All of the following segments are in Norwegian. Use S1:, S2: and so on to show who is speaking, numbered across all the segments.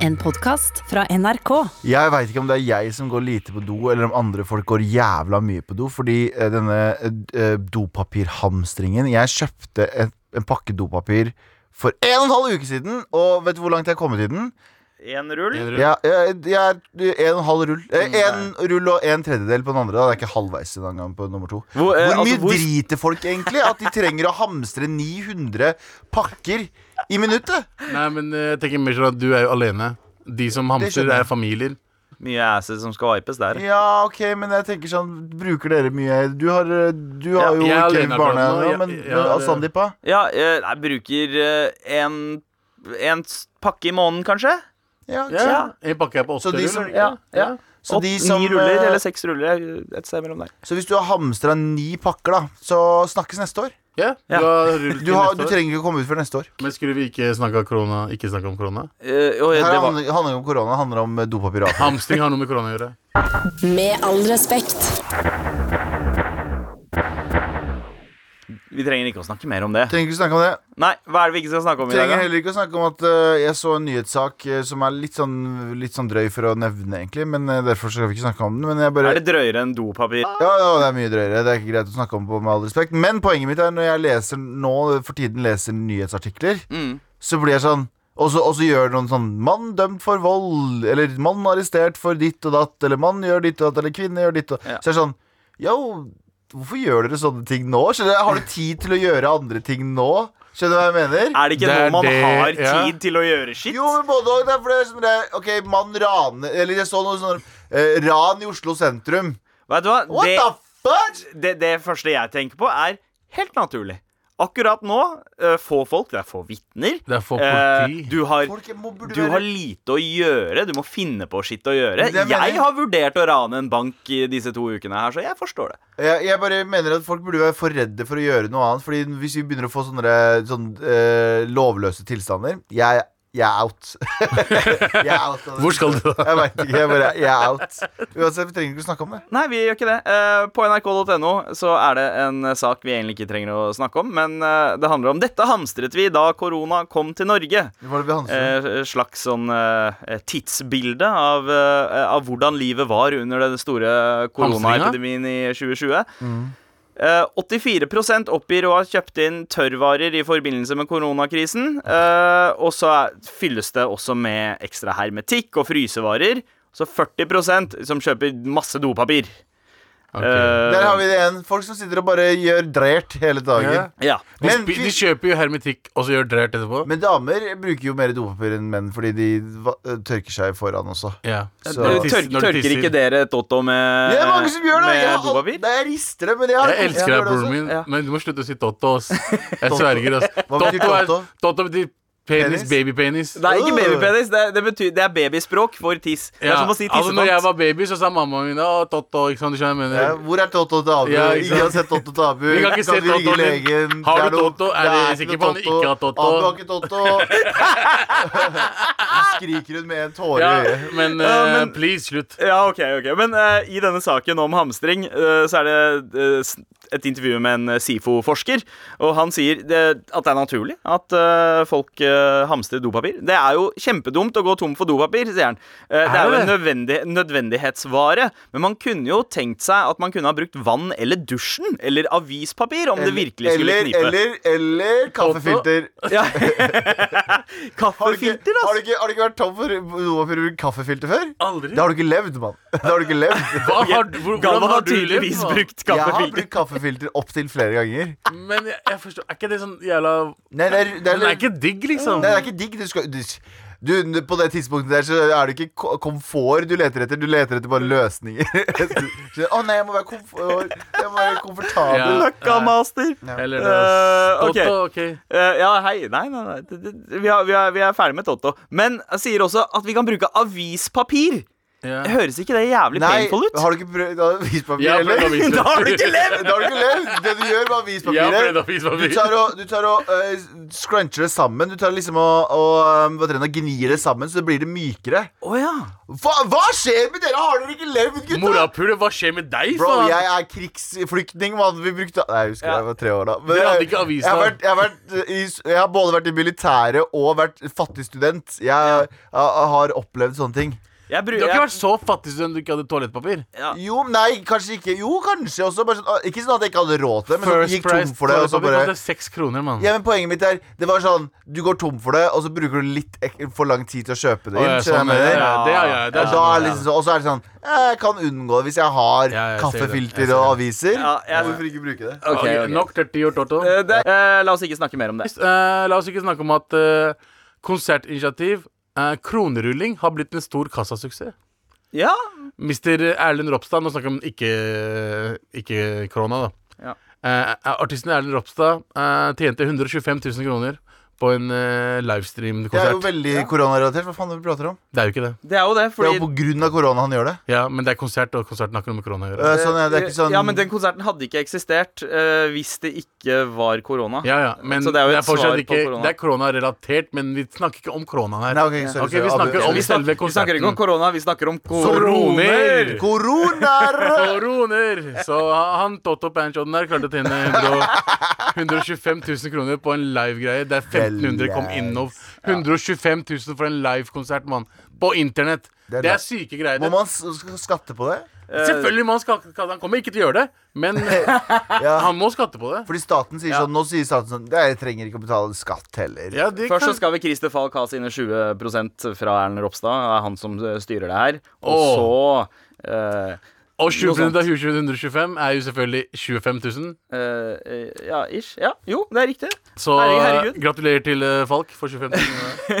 S1: En podkast fra NRK.
S2: Jeg veit ikke om det er jeg som går lite på do, eller om andre folk går jævla mye på do. Fordi eh, denne eh, dopapirhamstringen Jeg kjøpte en, en pakke dopapir for en og en halv uke siden, og vet du hvor langt jeg er kommet i den?
S3: En rull?
S2: Jeg, jeg, jeg er en og en halv rull. Eh, En rull og en tredjedel på den andre. Da. Det er ikke halvveis en gang på nummer to.
S3: Hvor, eh,
S2: Hvor mye
S3: altså, hvor-
S2: driter folk egentlig? At de trenger å hamstre 900 pakker i minuttet?
S4: Nei, men eh, jeg tenker mer sånn at du er jo alene. De som hamstrer,
S2: skjønner jeg.
S4: er familier.
S3: Mye asses som skal vipes der.
S2: Ja, ok, men jeg tenker sånn Bruker dere mye Du har, eh, du har
S3: Ja,
S2: jo
S4: jeg er
S2: ikke
S4: alene
S2: barne
S4: akkurat nå,
S2: ja,
S4: jeg-
S2: Men
S4: jeg er-
S2: og Sandeep, da?
S3: Ja, jeg, jeg bruker eh, en, en s- pakke i måneden, kanskje?
S2: Ja, ok.
S4: Ja, En pakke er på
S2: Så
S4: åtte
S2: de som-
S4: ruller.
S3: ja, ja.
S2: Så
S3: Åt-
S2: de som,
S3: Ni ruller,
S2: eh,
S3: eller seks ruller, jeg- et sted mellom der.
S2: Så hvis du har hamstra ni pakker, da, så snakkes neste år.
S4: Ja,
S3: Ja.
S4: Du, har rullet
S2: Du, har,
S4: til
S2: du
S4: neste år.
S2: trenger ikke å komme ut før neste år.
S4: Men skulle vi ikke snakke, om korona, ikke snakke om korona?
S3: Eh, og
S2: Det
S3: det
S2: her
S3: var,
S2: handler handler ikke om korona, det handler om eh, dopapir. og avfall.
S4: Hamstring har noe med korona å gjøre.
S5: Med all respekt.
S3: vi trenger ikke å snakke mer om det.
S2: Trenger ikke å snakke om det.
S3: Nei, hva er det vi ikke skal snakke om i dag?
S2: Trenger
S3: da?
S2: heller ikke å snakke om at eh, jeg så en nyhetssak eh, som er litt sånn, litt sånn drøy for å nevne, egentlig. Men eh, derfor skal vi ikke snakke om den. Men jeg bare
S3: Er det drøyere enn dopapir?
S2: Ja, ja, det er mye drøyere. Det er ikke greit å snakke om på med all respekt. Men poenget mitt er når jeg leser nå for tiden leser nyhetsartikler,
S3: Mm.
S2: så blir jeg sånn og så, og så gjør noen sånn 'Mann dømt for vold', eller 'Mann arrestert for ditt og datt', eller 'Mann gjør ditt og datt', eller 'Kvinne gjør ditt og
S3: Ja.
S2: Så er det sånn Yo, hvorfor gjør dere sånne ting nå? Skjønner du? Har du tid til å gjøre andre ting nå? Skjønner du hva jeg mener?
S3: Er det ikke
S4: Det er
S3: nå man
S4: det-
S3: har tid
S4: ja.
S3: til å gjøre skitt?
S2: Jo, men både og. Det er for det er sånn det- Ok, mann raner Eller jeg så noe sånn eh, ran i Oslo sentrum.
S3: Vet du hva?
S2: What
S3: det,
S2: the fuck?
S3: det, det første jeg tenker på, er helt naturlig. Akkurat nå, eh, få folk, det er få vitner.
S4: Det er for
S3: Eh,
S4: politi.
S3: du har
S2: Folk må, burde
S3: du
S2: være-
S3: har lite å gjøre. Du må finne på skitt å gjøre.
S2: Det mener jeg.
S3: Jeg har vurdert å rane en bank i disse to ukene her, så jeg forstår det.
S2: Jeg, jeg bare mener at folk burde være for redde for å gjøre noe annet. Fordi hvis vi begynner å få sånne, der- sånn, eh, lovløse tilstander Jeg, jeg er out. jeg er out av det.
S4: Hvor skal du da?
S2: Jeg veit ikke. Jeg, bare, jeg er out. Uansett, vi trenger ikke å snakke om det.
S3: Nei, vi gjør ikke det. Eh, På nrk.no så er det en eh, sak vi egentlig ikke trenger å snakke om, men eh, det handler om dette hamstret vi da korona kom til
S2: Hva
S3: Norge.
S2: er det vi handler om?
S3: Eh, slags sånn eh, tidsbilde av, eh, av hvordan livet var under den store koronaepidemien i 2020.
S4: Mm.
S3: Eh, 84 oppgir å ha kjøpt inn tørrvarer i forbindelse med koronakrisen. eh, og så er- fylles det også med ekstra hermetikk og frysevarer. Så 40 som kjøper masse dopapir.
S4: Ok.
S3: Eh,
S2: Der har vi det igjen. Folk som sitter og bare gjør drert hele dagen.
S4: Ja.
S3: ja.
S4: de,
S2: men
S4: spi-
S2: vi-
S4: de kjøper jo hermetikk og så gjør drært etterpå.
S2: Men damer bruker jo mer dopapir enn menn fordi de va- eh, tørker seg foran også.
S4: ja.
S2: Så-
S4: Når
S3: Tør-
S4: du tisser- når du
S3: tørker
S4: tisser.
S3: ikke dere Totto med,
S2: Det er mange som gjør det! Jeg,
S3: med
S2: har al-
S3: dopapir?
S2: Nei, jeg rister det, men jeg har
S4: Eh, Jeg elsker
S2: gjør
S4: deg,
S2: det også.
S4: broren min,
S3: Ja.
S4: men du må slutte å si Totto. ass. Jeg sverger, ass.
S2: Hva betyr
S4: Totto er-
S2: Totto?
S4: Totto betyr penis,
S2: Penis?
S4: babypenis.
S3: Det er ikke
S2: Øh.
S3: babypenis. Det er, det betyr, det er babyspråk for tiss. Det er
S4: Ja,
S3: som å si
S4: altså, når jeg
S3: tissefant.
S4: var baby, så sa mammaen min Å, Totto. Ikke sant, du skjønner hva
S2: Ja,
S4: jeg mener?
S2: hvor er Totto Tabu?
S4: Ja, ikke sant.
S2: ingen har sett Totto Tabu.
S4: Vi kan ikke se
S2: vi ringe
S4: Totto, men
S2: legen?
S4: har
S2: Det
S4: du
S2: noe-
S4: Totto? Er
S2: det
S4: du
S2: ikke
S4: sikker
S2: noe
S4: på han ikke har Totto?
S2: Abu har ikke Totto. Så skriker hun med en tåre i
S4: Ja,
S2: øyet.
S4: men,
S3: Ja,
S4: eh,
S3: men-
S4: please, slutt.
S3: Ja, ok, ok Men eh, i denne saken om hamstring eh, så er det eh, s- et intervju med en eh, SIFO-forsker. Og han sier det, at det er naturlig at eh, folk eh, hamstrer dopapir. Det er jo kjempedumt å gå tom for dopapir, sier han. Eh, det er jo en nødvendig, nødvendighetsvare. Men man kunne jo tenkt seg at man kunne ha brukt vann eller dusjen eller avispapir om det virkelig skulle
S2: eller,
S3: knipe.
S2: eller, eller kaffefilter.
S3: Ja.
S2: Har du, ikke,
S3: Kaffefilter,
S2: har, du
S3: altså.
S2: ikke, har du ikke vært tom for noe for kaffefilter før?
S4: Aldri.
S2: Det har du ikke levd, mann. Det har du ikke levd.
S4: Hva har, hvor, hvordan
S3: Galvan
S4: har
S3: har
S4: du levd?
S3: tydeligvis
S4: da?
S3: brukt
S2: Jeg har
S3: kaffefilter.
S2: brukt kaffefilter opptil flere ganger.
S4: Men jeg, jeg forstår Er ikke det sånn jævla
S2: Nei, det er, det
S4: Den er
S2: er,
S4: ikke digg, liksom.
S2: Nei, det er ikke digg. Du skal, du, du, på det tidspunktet der så er det ikke ko- komfort du leter etter. Du leter etter bare løsninger. Så, Å nei, jeg må være, komfort, jeg må være komfortabel.
S4: Ja.
S3: Løkka Master.
S4: Eller det
S3: Eh, ok.
S4: Totto, ok.
S3: Eh, ja, hei. Nei, nei, nei. Det- det- Vi, har, vi, er, vi er ferdig med Totto. Men jeg sier også at vi kan bruke avispapir.
S4: Ja.
S3: Høres ikke det jævlig
S2: Nei,
S3: painful ut?
S2: har du ikke prøvd avispapir
S4: Jeg har prøvd
S2: heller?
S4: avispapir.
S3: Da har du ikke levd!
S2: Da har du ikke levd! Det du gjør med
S4: Jeg har prøvd
S2: avispapiret Du
S4: avispapir.
S2: tar og, du tar og eh, scruncher det sammen. Du tar liksom og, og um, hva heter det, gnir det sammen, så det blir det mykere.
S3: Å ja.
S2: Hva, hva skjer med dere? Har dere ikke levd, gutta?
S4: Morapule, hva skjer med deg,
S2: Bro,
S4: faen?
S2: jeg er krigsflyktning, mann. Vi brukte Nei, jeg husker
S3: Ja.
S2: jeg var tre år da. Men
S4: Dere hadde
S2: jeg-
S4: ikke avis
S2: jeg har,
S4: da.
S2: vært, jeg, har vært eh, i, jeg har både vært i militæret og vært fattig student. Jeg, jeg har opplevd sånne ting.
S3: Jeg bru-
S4: Du har
S3: jeg-
S4: ikke vært så fattig som du ikke hadde toalettpapir.
S3: ja.
S2: Jo, nei, kanskje ikke. Jo, kanskje også. Bare sånn, ikke sånn at jeg ikke hadde råd til det, men sånn,
S4: First
S2: gikk tom
S4: price
S2: for det. Og så
S4: toalettpapir
S2: bare
S4: koster seks kroner, mann.
S2: ja, men Poenget mitt er Det var sånn Du går tom for det, og så bruker du litt ek for lang tid til å kjøpe det
S4: Å,
S2: inn.
S4: ja,
S2: skjønner du
S4: sånn,
S2: hva jeg mener?
S4: ja, ja, det har jeg, det
S2: Og
S4: har
S2: da er
S4: jeg.
S2: det liksom så, og så er det sånn Jeg kan unngå det hvis jeg har
S4: Ja, jeg ser det. Jeg
S2: kaffefilter
S4: ser
S2: og
S4: det.
S2: aviser.
S3: Ja, jeg-
S2: Hvorfor ikke bruke det?
S4: Ok, Nok 30 år, Toto.
S3: Eh, det, eh, la oss ikke snakke mer om det.
S4: Eh, la oss ikke snakke om at eh, konsertinitiativ, eh, kronerulling, har blitt en stor kassasuksess.
S3: Ja,
S4: Mr. Erlend Ropstad Nå snakker vi om ikke, ikke krona, da.
S3: Ja.
S4: Eh, artisten Erlend Ropstad eh, tjente 125 000 kroner på en eh,
S2: Det er jo
S4: livestream-konsert. Det,
S2: veldig koronarelatert. Hva faen er det vi prater om?
S4: er jo ikke det.
S3: det er jo det,
S2: Det er
S3: fordi
S2: jo på grunn av korona han gjør det.
S4: Ja, Men det er konsert, og konserten har ikke noe med korona å gjøre.
S2: Øh,
S3: Eh,
S2: sånn, ja, det er ikke sånn
S3: Ja, men den konserten hadde ikke eksistert eh, hvis det ikke var korona.
S4: Ja, ja, men
S3: Så det er jo et
S4: fortsatt
S3: svar på
S4: ikke,
S3: korona.
S4: Det er koronarelatert, men vi snakker ikke om korona her.
S2: Nei, ok, sorry,
S4: Ok, vi
S2: sorry.
S4: snakker
S3: Vi,
S4: om-
S3: snak
S4: Selve
S3: vi snakker ikke om
S4: konserten.
S3: korona, vi snakker om
S4: Koroner!
S2: Koroner!
S4: Koroner! Så han Totto Panchodden der klarte å tjene 100 125 000 kroner på en live-greie der 1500 kom innom. 125 000 for en live-konsert, mann. På internett.
S2: Det er
S4: Det
S2: da-
S4: er syke greier.
S2: Må
S4: Det-
S2: man s- sk- skatte på det?
S4: Selvfølgelig man skal, skal- han kommer ikke til å gjøre det, men
S2: Ja.
S4: han må skatte på det.
S2: Fordi staten sier
S4: Ja.
S2: sånn Nå sier staten sånn Jeg trenger ikke å betale skatt heller.
S4: Ja, det
S3: Først så
S4: kan,
S3: skal vi Christer Falk ha sine 20 fra Erlend Ropstad. Det er han som eh, styrer det her. Og så eh,
S4: og 20 av 125 er jo selvfølgelig 25 000.
S3: eh, eh, Ja, ish. Ja, jo, det er riktig.
S4: Så
S3: Herregud, herregud.
S4: gratulerer til eh, Falk for 25 000.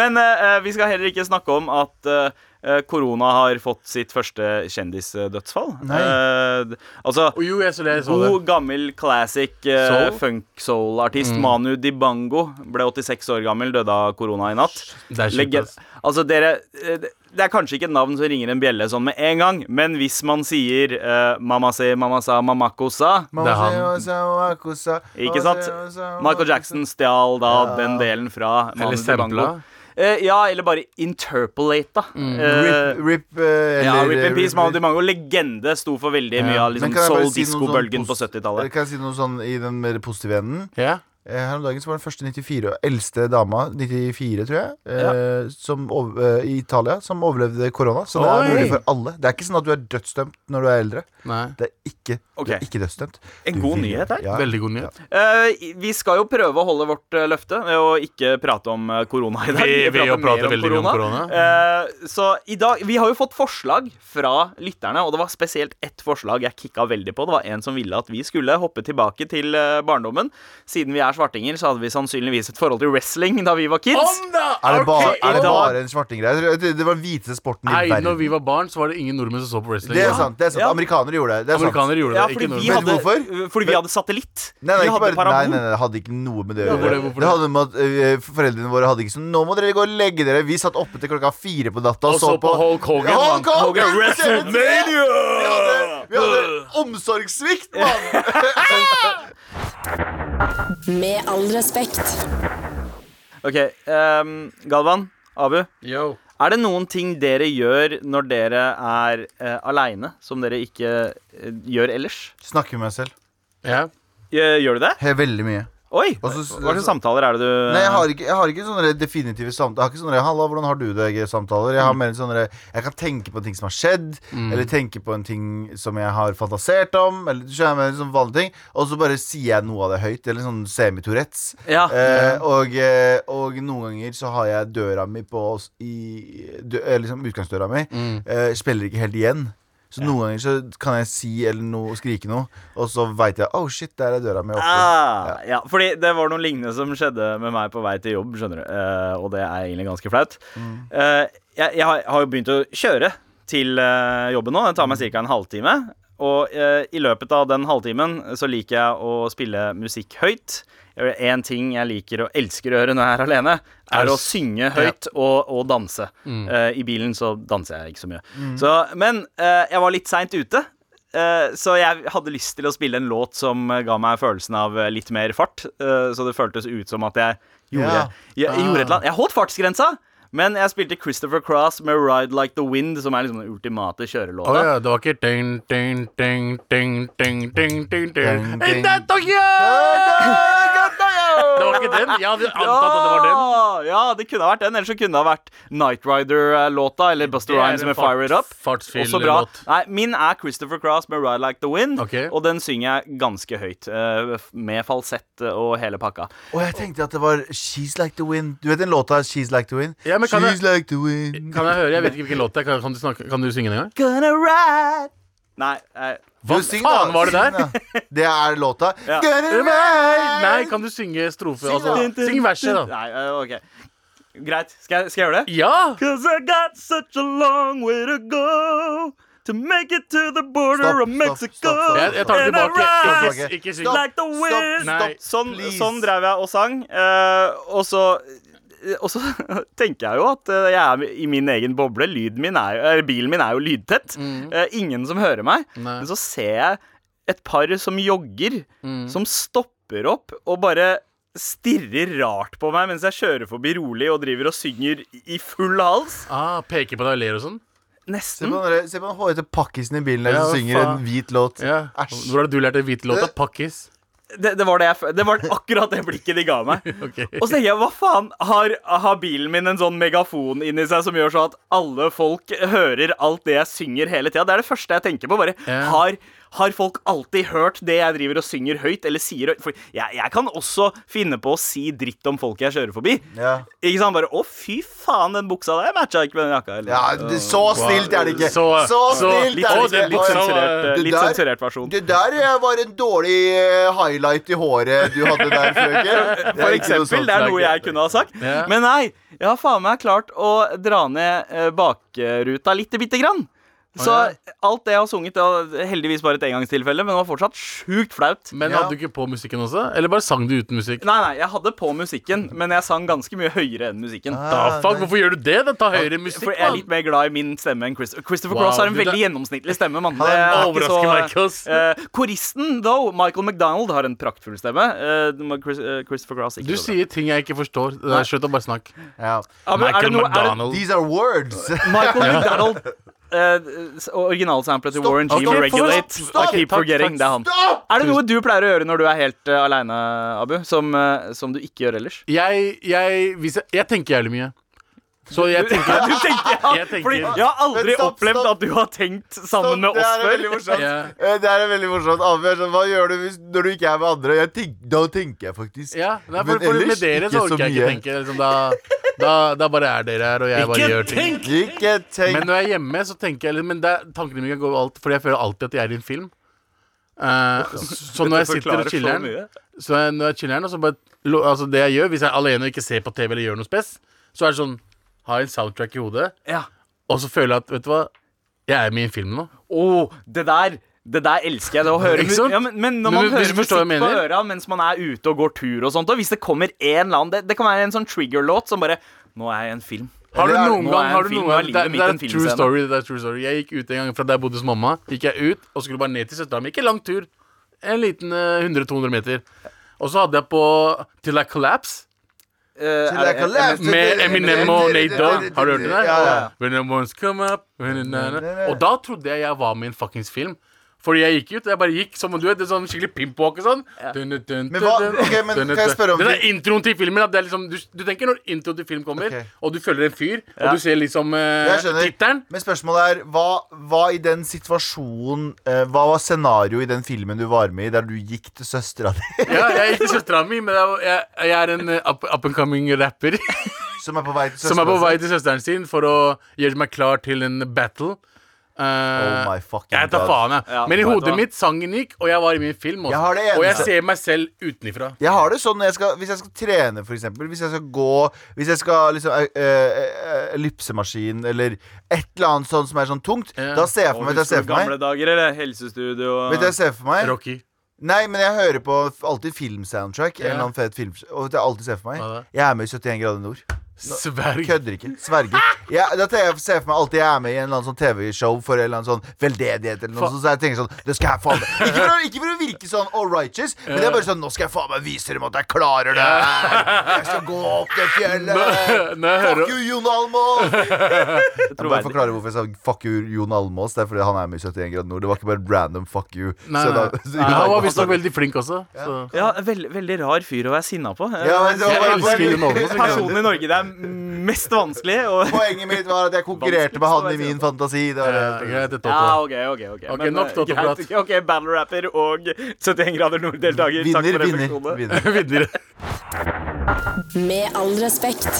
S3: Men eh, eh, vi skal heller ikke snakke om at eh, eh, korona har fått sitt første kjendisdødsfall. Eh, d- altså
S4: Og jo, jeg så det. Jeg så det.
S3: God, gammel classic eh,
S4: Soul?
S3: funk-soul-artist Manu Dibango ble 86 år gammel, døde av korona i natt.
S4: Det er sjukt,
S3: Legge-
S4: ass.
S3: altså, dere eh, det- Det er kanskje ikke et navn som ringer en bjelle sånn med en gang, men hvis man sier eh, Mamma se, mamma sa, mamako sa
S2: Mamma
S4: Det er
S2: sier,
S4: han.
S2: mamma sier, mamma koser, mamma
S3: Ikke sant?
S2: sier, mamma sier, mamma
S3: Michael Jackson stjal da den delen fra Manu
S4: Eller
S3: Dibango.
S4: sampla.
S3: Eh, ja, eller bare interpolate, da. Eh,
S2: Rip, rip, eh,
S3: ja,
S2: eller-
S3: Rip in Peace, Manu Dibango. Legende sto for veldig mye av
S2: Men
S3: liksom,
S2: kan jeg bare si noe sånn
S3: soul-disko-bølgen på
S2: posi-
S3: 70-tallet.
S2: Kan jeg si noe sånn i den mer positive enden?
S4: Ja.
S2: Eh, Her om dagen så var den første 94 og eldste dama, 94 tror jeg, eh, som, ov- eh, i Italia, som overlevde korona. Så det
S4: Oi.
S2: er mulig for alle. Det er ikke sånn at du er dødsdømt når du er eldre.
S4: Nei.
S2: Det er ikke,
S3: Ok.
S2: du er ikke dødsdømt.
S3: En
S2: Du
S3: god
S2: vil-
S3: nyhet her.
S2: Ja.
S4: Veldig god nyhet.
S3: Eh, vi skal jo prøve å holde vårt eh, løfte ved å ikke prate om eh, korona i dag.
S4: Vi- vi
S3: prater
S4: jo prater
S3: mer
S4: veldig mye om
S3: Eh, så i dag Vi har jo fått forslag fra lytterne, og det var spesielt ett forslag jeg kicka veldig på. Det var en som ville at vi skulle hoppe tilbake til eh, barndommen. Siden vi er svartinger, så hadde vi sannsynligvis et forhold til wrestling da vi var kids.
S2: Er det, bare, er det
S3: da-
S2: bare en svartinggreie? Jeg tror- Det det var den hviteste sporten i
S4: Nei, når
S2: verden.
S4: vi var barn, så var det ingen nordmenn som så på wrestling.
S2: Det er sant. det er sant
S3: Ja.
S2: Amerikanere gjorde det. det er sant.
S4: Amerikanere gjorde
S3: Ja,
S4: det,
S3: fordi vi,
S4: ikke
S2: Vet du
S4: nordmenn.
S3: hadde,
S2: hvorfor?
S3: fordi vi hadde satellitt.
S2: Nei, nei,
S3: vi
S2: ikke bare, nei,
S3: hadde
S2: nei,
S3: parabol.
S2: nei, det hadde ikke noe med det å
S4: Ja,
S2: gjøre.
S4: hvorfor det?
S2: Det hadde med at eh, Foreldrene våre hadde ikke sånn Nå må dere gå og legge dere. Vi satt oppe til klokka fire på natta og,
S4: Og så på Hulk Hogan, mann.
S2: Hulk Hogan,
S3: Hogan,
S2: Vi hadde, vi hadde omsorgssvikt, mann!
S5: Med all respekt.
S3: Ok, ehm, Galvan, Abu.
S4: Yo.
S3: Er det noen ting dere gjør når dere er eh, aleine, som dere ikke eh, gjør ellers?
S2: Snakker med meg selv.
S4: Ja.
S3: Gjør, gjør du det?
S2: He, veldig mye.
S3: Oi!
S2: Og så-
S3: Hva slags samtaler er det du
S2: Nei, jeg har ikke, jeg har ikke sånne definitive samtaler. Jeg har ikke sånne 'halla, hvordan har du det?'-samtaler. Jeg har mer sånne Jeg kan tenke på ting som har skjedd, eller tenke på en ting som jeg har fantasert om, eller du skjønner, mer sånn vanlige ting, og så bare sier jeg noe av det høyt. Eller sånn semi-Tourettes.
S3: Ja.
S2: Eh, og, eh, og noen ganger så har jeg døra mi på s- i, dø, eh, Liksom utgangsdøra mi.
S3: Mm.
S2: Eh, spiller ikke helt igjen. Så noen ganger så kan jeg si eller noe, skrike noe, og så veit jeg 'oh shit, der er døra mi oppe'.
S3: Ah, ja, fordi det var noe lignende som skjedde med meg på vei til jobb, skjønner du. Eh, og det er egentlig ganske flaut. Eh, jeg, jeg har, har jo begynt å kjøre til eh, jobben nå. Det tar meg ca. en halvtime. Og eh, i løpet av den halvtimen så liker jeg å spille musikk høyt. En ting jeg liker og elsker å gjøre når jeg er alene, er å synge høyt og, og danse. Eh, I bilen så danser jeg ikke så mye. Så, men eh, jeg var litt seint ute. eh, Så jeg hadde lyst til å spille en låt som eh, ga meg følelsen av eh, litt mer fart. eh, Så det føltes ut som at jeg gjorde,
S2: Ja.
S3: jeg, jeg gjorde et eller annet. Jeg holdt fartsgrensa, men jeg spilte Christopher Cross med Ride Like The Wind, som er liksom den ultimate kjørelåta.
S4: Å ja, det var ikke ding, ding, ding, ding, ding, ding, ding, ding.
S2: Ding,
S4: In that Tokyo! Det var ikke den? Jeg hadde antatt at det var den.
S3: Ja, ja, det kunne ha vært den. Eller så kunne det ha vært Night Rider-låta eller Buster
S4: Det er
S3: Rhymes
S4: en
S3: med
S4: fart-
S3: Fire It Up.
S4: fartsfyll
S3: Også bra.
S4: låt.
S3: Nei, min er Christopher Cross med Ride Like The Wind,
S4: Ok.
S3: og den synger jeg ganske høyt. eh, med falsett og hele pakka.
S2: Og jeg tenkte at det var She's Like The Wind. Du vet den låta She's Like The Wind?
S4: Ja, men kan
S2: She's Like The Wind.
S4: Kan jeg høre? Jeg vet ikke hvilken låt det er. Kan, kan, du snakke, kan du synge den en gang?
S3: Gonna ride Nei, eh,
S4: Hva
S2: Du, syng da,
S4: faen var det
S2: syng
S4: der?
S2: da. Det er låta.
S3: Ja.
S2: Get it right.
S4: Nei, kan du synge strofe? Altså,
S2: da.
S4: syng verset, da.
S3: Nei, eh, ok. Greit. Skal jeg, skal jeg gjøre det?
S4: Ja!
S3: Cause I got such a long way to go to make it to the border
S2: Stopp,
S3: of
S2: stopp,
S3: Mexico.
S2: stopp, stopp.
S4: Jeg, jeg tar det
S3: And I rise
S4: tilbake. Ikke,
S2: Stopp.
S4: ikke syng.
S2: Stopp.
S3: Like the wind.
S4: Nei.
S2: Stopp,
S3: Sånn,
S2: please.
S3: sånn drev jeg og sang. eh, og så eh, og så tenker jeg jo at eh, jeg er i min egen boble. Lyden min er, jo- eller bilen min er jo lydtett. Eh, ingen som hører meg.
S4: Mm. Nei.
S3: Men så ser jeg et par som jogger,
S4: Mm.
S3: som stopper opp og bare stirrer rart på meg mens jeg kjører forbi rolig og driver og synger i full hals.
S4: Ah, peker på deg og ler og sånn?
S2: Se på
S3: Nesten.
S2: den, der- se på den hårete pakkisen i bilen der
S4: Mm. Ja,
S2: som
S4: hva
S2: synger
S4: faen?
S2: en hvit låt.
S4: Ja.
S2: Æsj.
S4: Hvor har du lært den hvite låta?
S2: Det-
S4: Pakkis?
S3: Det, det, var det, jeg, f- det var akkurat det blikket de ga meg.
S4: Ok.
S3: Og så tenker jeg, hva faen, har, har bilen min en sånn megafon inni seg som gjør sånn at alle folk hører alt det jeg synger hele tida? Det er det første jeg tenker på. bare,
S4: Ja.
S3: har, har folk alltid hørt det jeg driver og synger høyt, eller sier høyt? For jeg, jeg kan også finne på å si dritt om folk jeg kjører forbi.
S2: Ja.
S3: Ikke sant? Bare, å fy faen, den buksa der matcha ikke med den jakka. Eller,
S2: Ja, det, så snilt er det ikke. Så,
S4: Så- så-
S2: snilt
S3: Litt,
S2: er
S4: Å,
S2: det
S3: litt,
S2: ikke.
S4: den
S3: litt,
S4: buksa var-
S3: sensurert, eh,
S2: Det
S3: litt
S2: der-
S3: sensurert versjon.
S2: Det der eh, var en dårlig eh, highlight i håret du hadde der, frøken. Det
S3: For
S2: er ikke noe
S3: eksempel.
S2: sånt.
S3: Det er
S4: som er
S3: noe jeg kunne ha sagt.
S4: Ja.
S3: Men nei, jeg har faen meg klart å dra ned eh, bakruta lite bitte grann. Så
S4: Å,
S3: alt det jeg har sunget, det var heldigvis bare et engangstilfelle, men det var fortsatt sjukt flaut.
S4: Men
S2: Ja.
S4: hadde du ikke på musikken også? Eller bare sang du uten musikk?
S3: Nei, nei, jeg hadde på musikken, men jeg sang ganske mye høyere enn musikken.
S4: Da,
S2: Ah,
S4: fuck,
S2: nei.
S4: hvorfor gjør du det? Da Ta høyere musikk,
S3: For jeg er
S4: mann.
S3: litt mer glad i min stemme enn Christopher. Christopher
S4: Wow,
S3: Cross har en
S4: du,
S3: veldig
S4: det-
S3: gjennomsnittlig stemme. Mann.
S2: Han
S3: Det er ikke
S4: overrasker
S3: så-
S4: meg ikke, ass.
S3: Eh, Koristen, though, Michael McDonald, har en praktfull stemme. Eh, men Chris, eh, Christopher Cross ikke
S4: Du
S3: så bra.
S4: sier ting jeg ikke forstår. Det er Slutt å bare snakke.
S2: Ja.
S3: Ja, men er det
S4: Michael
S3: noe- er det-
S4: McDonald.
S2: These are words.
S3: Michael McDonald uh, Originalsamplet til Warren G
S4: Ok,
S3: med Regulate.
S4: stopp, stopp.
S3: I keep
S4: Takk,
S3: forgetting,
S4: takk,
S3: det er han.
S2: Stopp!
S3: Er det noe du pleier å gjøre når du er helt uh, aleine, Abu? Som, eh, som du ikke gjør ellers?
S4: Jeg, jeg, hvis jeg, jeg tenker jævlig mye. Så jeg tenker
S3: du tenker, ja,
S4: Jeg tenker-
S3: fordi jeg har aldri
S2: Men stopp,
S3: opplevd
S2: stopp.
S3: at du har tenkt sammen
S2: Stopp,
S3: med
S2: det
S3: oss
S2: her er veldig
S3: før.
S2: morsomt.
S4: Ja.
S2: Eh, Det her er veldig morsomt. Abu er sånn, hva gjør du hvis, når du ikke er med andre? Jeg tenk, da tenker jeg faktisk.
S4: Ja, nei,
S2: Men
S4: for, for
S2: ellers
S4: med dere så
S2: ikke så
S4: orker jeg ikke
S2: mye.
S4: tenke. Liksom, da, da, da bare er dere her, og jeg bare gjør ting.
S2: Ikke tenk.
S4: Men når jeg er hjemme, så tenker jeg litt- Men det, tankene mine går alt Fordi jeg føler alltid at jeg er i en film. Eh, så når jeg sitter
S3: forklarer
S4: og
S3: så
S4: chiller'n,
S3: mye.
S4: så jeg- når jeg chiller'n, og så bare lo- Altså, det jeg gjør hvis jeg er alene og ikke ser på TV eller gjør noe spes, så er det sånn Har en soundtrack i hodet,
S3: Ja.
S4: og så føler jeg at Vet du hva? Jeg er med i en film nå.
S3: Åh, det der det der elsker jeg. Det å høre
S4: Ikke sant?
S3: Ja, men, men når
S4: Men
S3: man
S4: du- du
S3: hører
S4: forstår hva jeg
S3: musikk på
S4: mener.
S3: øra mens man er ute og går tur og sånt, og hvis det kommer en eller annen Det, det kan være en sånn trigger-låt som bare Nå er jeg i en film.
S4: Har du
S2: Eller er det-
S4: noen
S3: nå er
S4: gang
S3: en
S4: har du
S3: film, nå
S4: noen
S3: er
S4: gang,
S3: livet
S4: det, er-
S3: mitt
S4: det
S3: en
S4: er en true
S3: filmscene.
S4: story, det er true story Jeg gikk ut en gang fra der jeg bodde hos mamma Gikk jeg ut og skulle bare ned til søstera mi Ikke lang tur En liten eh, 100-200 meter Og så hadde jeg på Till I Collapse
S3: Eh, er det-
S4: Med Eminem og Nate Dogg Har du hørt den der?
S2: Ja, ja.
S4: When the ones come up when the na- na- Og da trodde jeg jeg var med i en fuckings film fordi jeg gikk ut, jeg bare gikk som om du vet, det er sånn skikkelig pimpwalk og sånn Dun, dun, dun,
S2: Men hva-
S4: dun,
S2: ok, men
S4: dun, dun,
S2: kan jeg
S4: dun.
S2: spørre om
S4: Den
S2: du-
S4: er introen til filmen, at det er liksom, du, du tenker når introen til film kommer
S2: Ok.
S4: Og du følger en fyr, og du ser liksom eh,
S2: Jeg skjønner.
S4: titteren
S2: Men spørsmålet er, hva, hva i den situasjonen eh, Hva var scenarioet i den filmen du var med i, der du gikk til søstera di,
S4: Ja, jeg er ikke søstera mi, men jeg, jeg, jeg er en eh, up, up and coming rapper
S2: som er på vei til søstera
S4: som er på vei til søsteren sin for å gjøre meg klar til en battle. Eh,
S2: Oh my fucking
S4: jeg tar
S2: God.
S4: faen, jeg.
S3: Ja,
S4: Men i
S3: vet du
S4: hodet
S3: hva?
S4: mitt sangen gikk, og jeg var i min film. Også.
S2: Jeg har det
S4: og jeg
S2: eneste-
S4: ser meg selv utenifra.
S2: Jeg har det sånn når jeg skal, hvis jeg skal trene, for eksempel. Hvis jeg skal gå Hvis jeg skal liksom eh, eh, ellipsemaskin eller et eller annet sånt som er sånn tungt,
S4: Ja.
S2: da ser jeg
S3: Å,
S2: for meg at jeg ser
S3: husker du
S2: for meg
S3: Gamle dager, eller? Helsestudio og
S2: Vet du hva jeg ser for meg?
S4: Rocky.
S2: Nei, men jeg hører på f- alltid filmsoundtrack. En
S4: Ja.
S2: eller annen fet film Og det er alltid ser for meg
S4: Hva da?
S2: Jeg er med i 71 grader nord.
S4: Sverg.
S2: Kødder ikke. Sverger. Ja, det er jeg ser for meg alltid jeg er med i en eller annen sånn TV-show for en eller annen sånn veldedighet eller noe
S4: Fa-
S2: sånt. Så jeg tenker sånn Det skal jeg faen meg ikke, for å- ikke for å virke sånn all righteous, men det er bare sånn Nå skal jeg faen meg vise dem at jeg klarer det her. Jeg skal gå opp det fjellet.
S4: Når når jeg hører
S2: Fuck you, Jon Almaas!
S3: Jeg
S2: Jeg
S3: tror
S2: må bare
S3: verden-
S2: forklare hvorfor jeg sa fuck you, Jon Almaas. Det er fordi han er med i 71 grader nord. Det var ikke bare random fuck you.
S4: Nei,
S2: Så
S4: nei.
S2: da- så
S4: nei,
S2: Jon
S4: han var
S2: Almaas-
S4: visstnok veldig flink også. Så.
S3: Ja, veld, veldig rar fyr å være sinna på.
S2: Ja, men det var
S4: Jeg
S2: bare-
S4: elsker Jon Almaas, jeg.
S3: Personen i Norge det er mest vanskelig. Og...
S2: Poenget mitt var at jeg konkurrerte med han i min fantasi. Det var det.
S4: Eh, greit, det er
S3: Ja,
S4: Totto.
S3: OK, OK. ok,
S4: Ok,
S3: Men,
S4: nok
S3: eh,
S4: Totto-prat.
S3: greit. Ok, Battle-rapper og 71 grader nord-deltaker. Takk
S2: Vinner,
S3: for
S2: vinner,
S3: refleksjonene.
S2: vinner.
S4: Videre.
S5: Med all respekt.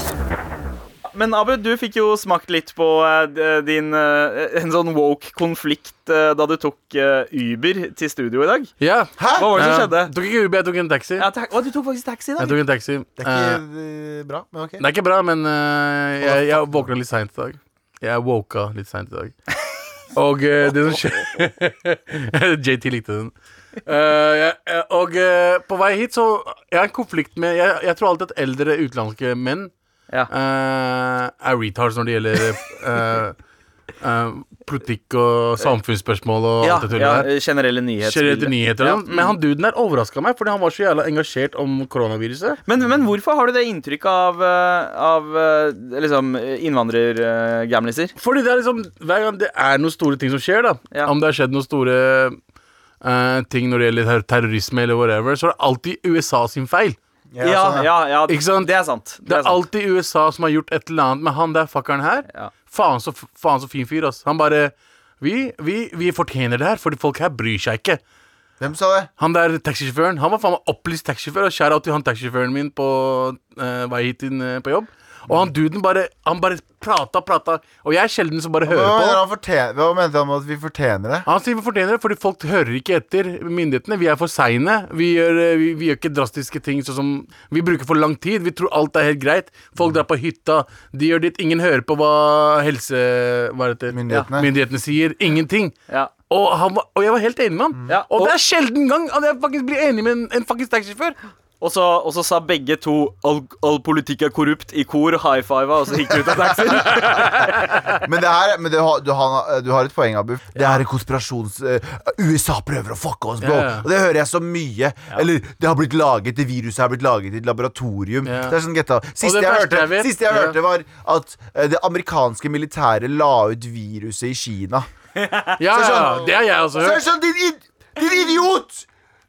S3: Men Abu, du fikk jo smakt litt på eh, d- din eh, en sånn woke konflikt eh, da du tok eh, Uber til studio i dag.
S4: Ja.
S2: Hæ?
S3: Hva var det som skjedde?
S4: Jeg tok ikke Uber, jeg tok en taxi.
S3: Ja,
S4: Jeg
S3: ta å, du tok faktisk taxi i dag.
S4: tok en taxi.
S2: Det
S4: Eh,
S2: er ikke eh, bra, men ok.
S4: Det er ikke bra, men eh, jeg, jeg våkna litt seint i dag. Jeg woka litt seint i dag. Og eh, det som skjer JT likte den. Eh, jeg, jeg- og eh, på vei hit så Jeg har en konflikt med Jeg, jeg tror alltid at eldre utenlandske menn
S3: Ja.
S4: eh, er retards når det gjelder eh, eh, politikk og samfunnsspørsmål og
S3: Ja,
S4: alt det tullet
S3: ja,
S4: der.
S3: eh, generelle nyhetsbilder. mm.
S4: Generelt nyheter og sånn. Men han duden der overraska meg, fordi han var så jævla engasjert om koronaviruset.
S3: Men, men hvorfor har du det inntrykket av, eh, av eh, liksom innvandrergamliser?
S4: Fordi det er liksom Hver gang det er noen store ting som skjer, da
S3: Ja.
S4: Om det har skjedd noen store eh, ting når det gjelder ter terrorisme eller whatever, så er det alltid USA sin feil.
S3: Ja,
S2: sånn,
S3: ja, ja.
S4: Ikke sant?
S3: Det er sant.
S4: Det er
S3: sant.
S4: alltid USA som har gjort et eller annet med han der fuckeren her.
S3: Ja.
S4: Faen, så, f- faen så fin fyr, ass. Han bare vi, vi, vi fortjener det her, fordi folk her bryr seg ikke.
S2: Hvem sa det?
S4: Han der taxisjåføren Han var faen meg opplyst taxisjåfør. Og shout out til han taxisjåføren min på eh, vei hit inn eh, på jobb. Og han duden bare Han bare prata, prata. Og jeg er sjelden som bare
S2: Hva
S4: hører
S2: mener
S4: på.
S2: han, fortjener, hva mener han med at vi fortjener det?
S4: Han sier vi fortjener det, fordi folk hører ikke etter myndighetene. Vi er for seine. Vi, gjør, eh, vi, vi gjør ikke drastiske ting sånn som Vi bruker for lang tid. Vi tror alt er helt greit. Folk drar på hytta. De gjør ditt. Ingen hører på hva helse... Hva er det?
S2: Myndighetene.
S4: myndighetene sier. Ingenting.
S3: Ja.
S4: Og, han var, og jeg var helt enig med han.
S3: Mm. Ja,
S4: og,
S3: og-
S4: det er sjelden gang at jeg faktisk blir enig med en, en fuckings taxisjåfør.
S3: Og så, og så sa begge to all, 'all politikk er korrupt' i kor, high fiva, og så gikk de ut av taxien.
S2: Men, det her, men det, har- du, har- du har et poeng, Abu. Det er en konspirasjons... eh, USA prøver å fucke oss, bro.
S4: Ja, ja.
S2: Og det hører jeg så mye. Eller det har blitt laget, det viruset har blitt laget i et laboratorium.
S4: Ja.
S2: Det er sånn getta. Siste
S4: det
S2: jeg,
S4: verste
S2: hørte,
S4: jeg vet-
S2: siste jeg
S4: Ja.
S2: hørte, var at eh, det amerikanske militæret la ut viruset i Kina.
S4: Ja,
S2: Så
S4: ja,
S2: sånn-
S4: det har jeg også
S2: Så er det
S4: hørt.
S2: sånn, din, id- din idiot!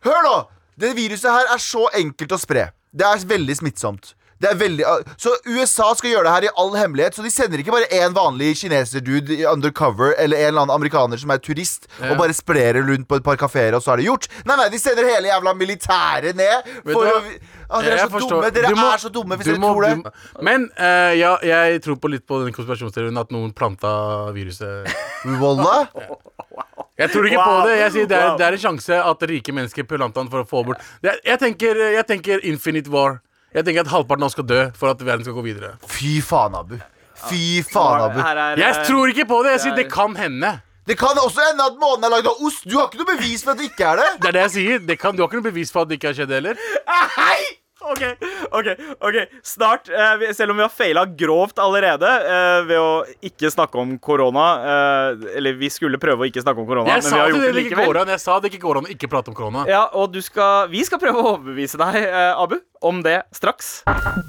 S2: Hør nå! Det viruset her er så enkelt å spre. Det er veldig smittsomt. Det er veldig, så USA skal gjøre det her i all hemmelighet. Så de sender ikke bare én vanlig kineser-dude i undercover eller en eller annen amerikaner som er turist, og bare sprer det rundt på et par kafeer, og så er det gjort. Nei, nei, de sender hele jævla militæret ned
S4: Vet
S2: for
S4: du
S2: å
S4: hva?
S2: ah, Dere er
S4: Jeg
S2: så
S4: forstår.
S2: dumme! Dere
S4: Du må-
S2: er så dumme hvis
S4: du
S2: dere
S4: må-
S2: tror det.
S4: du må- Men eh, ja, jeg tror på litt på den konspirasjonsteorien at noen planta viruset.
S2: Wallah.
S4: Jeg tror ikke
S3: Wow.
S4: på det. Jeg sier det er,
S3: Wow.
S4: det er en sjanse at rike mennesker planta den for å få bort det, er- jeg, tenker, jeg tenker Infinite War. Jeg tenker at halvparten av oss skal dø for at verden skal gå videre.
S2: Fy faen, Abu. Fy faen, Abu.
S3: Her er,
S4: Jeg
S3: eh,
S4: tror ikke på det. Jeg sier
S3: det er-
S4: det kan hende.
S2: Det kan også ende at månen er lagd av ost. Du har ikke noe bevis for at det ikke er det.
S4: Det er det jeg sier. Det kan, du har ikke noe bevis for at det ikke har skjedd heller.
S3: Ah, Ok, ok, ok Snart, eh, vi- selv om vi har feila grovt allerede eh, ved å ikke snakke om korona eh, Eller vi skulle prøve å ikke snakke om korona,
S4: Jeg
S3: men vi
S4: sa
S3: har
S4: til
S3: gjort det
S4: dere det ikke går
S3: likevel.
S4: an Jeg sa det ikke går an å ikke prate om korona.
S3: Ja, og du skal, vi skal prøve å overbevise deg, eh, Abu, om det straks.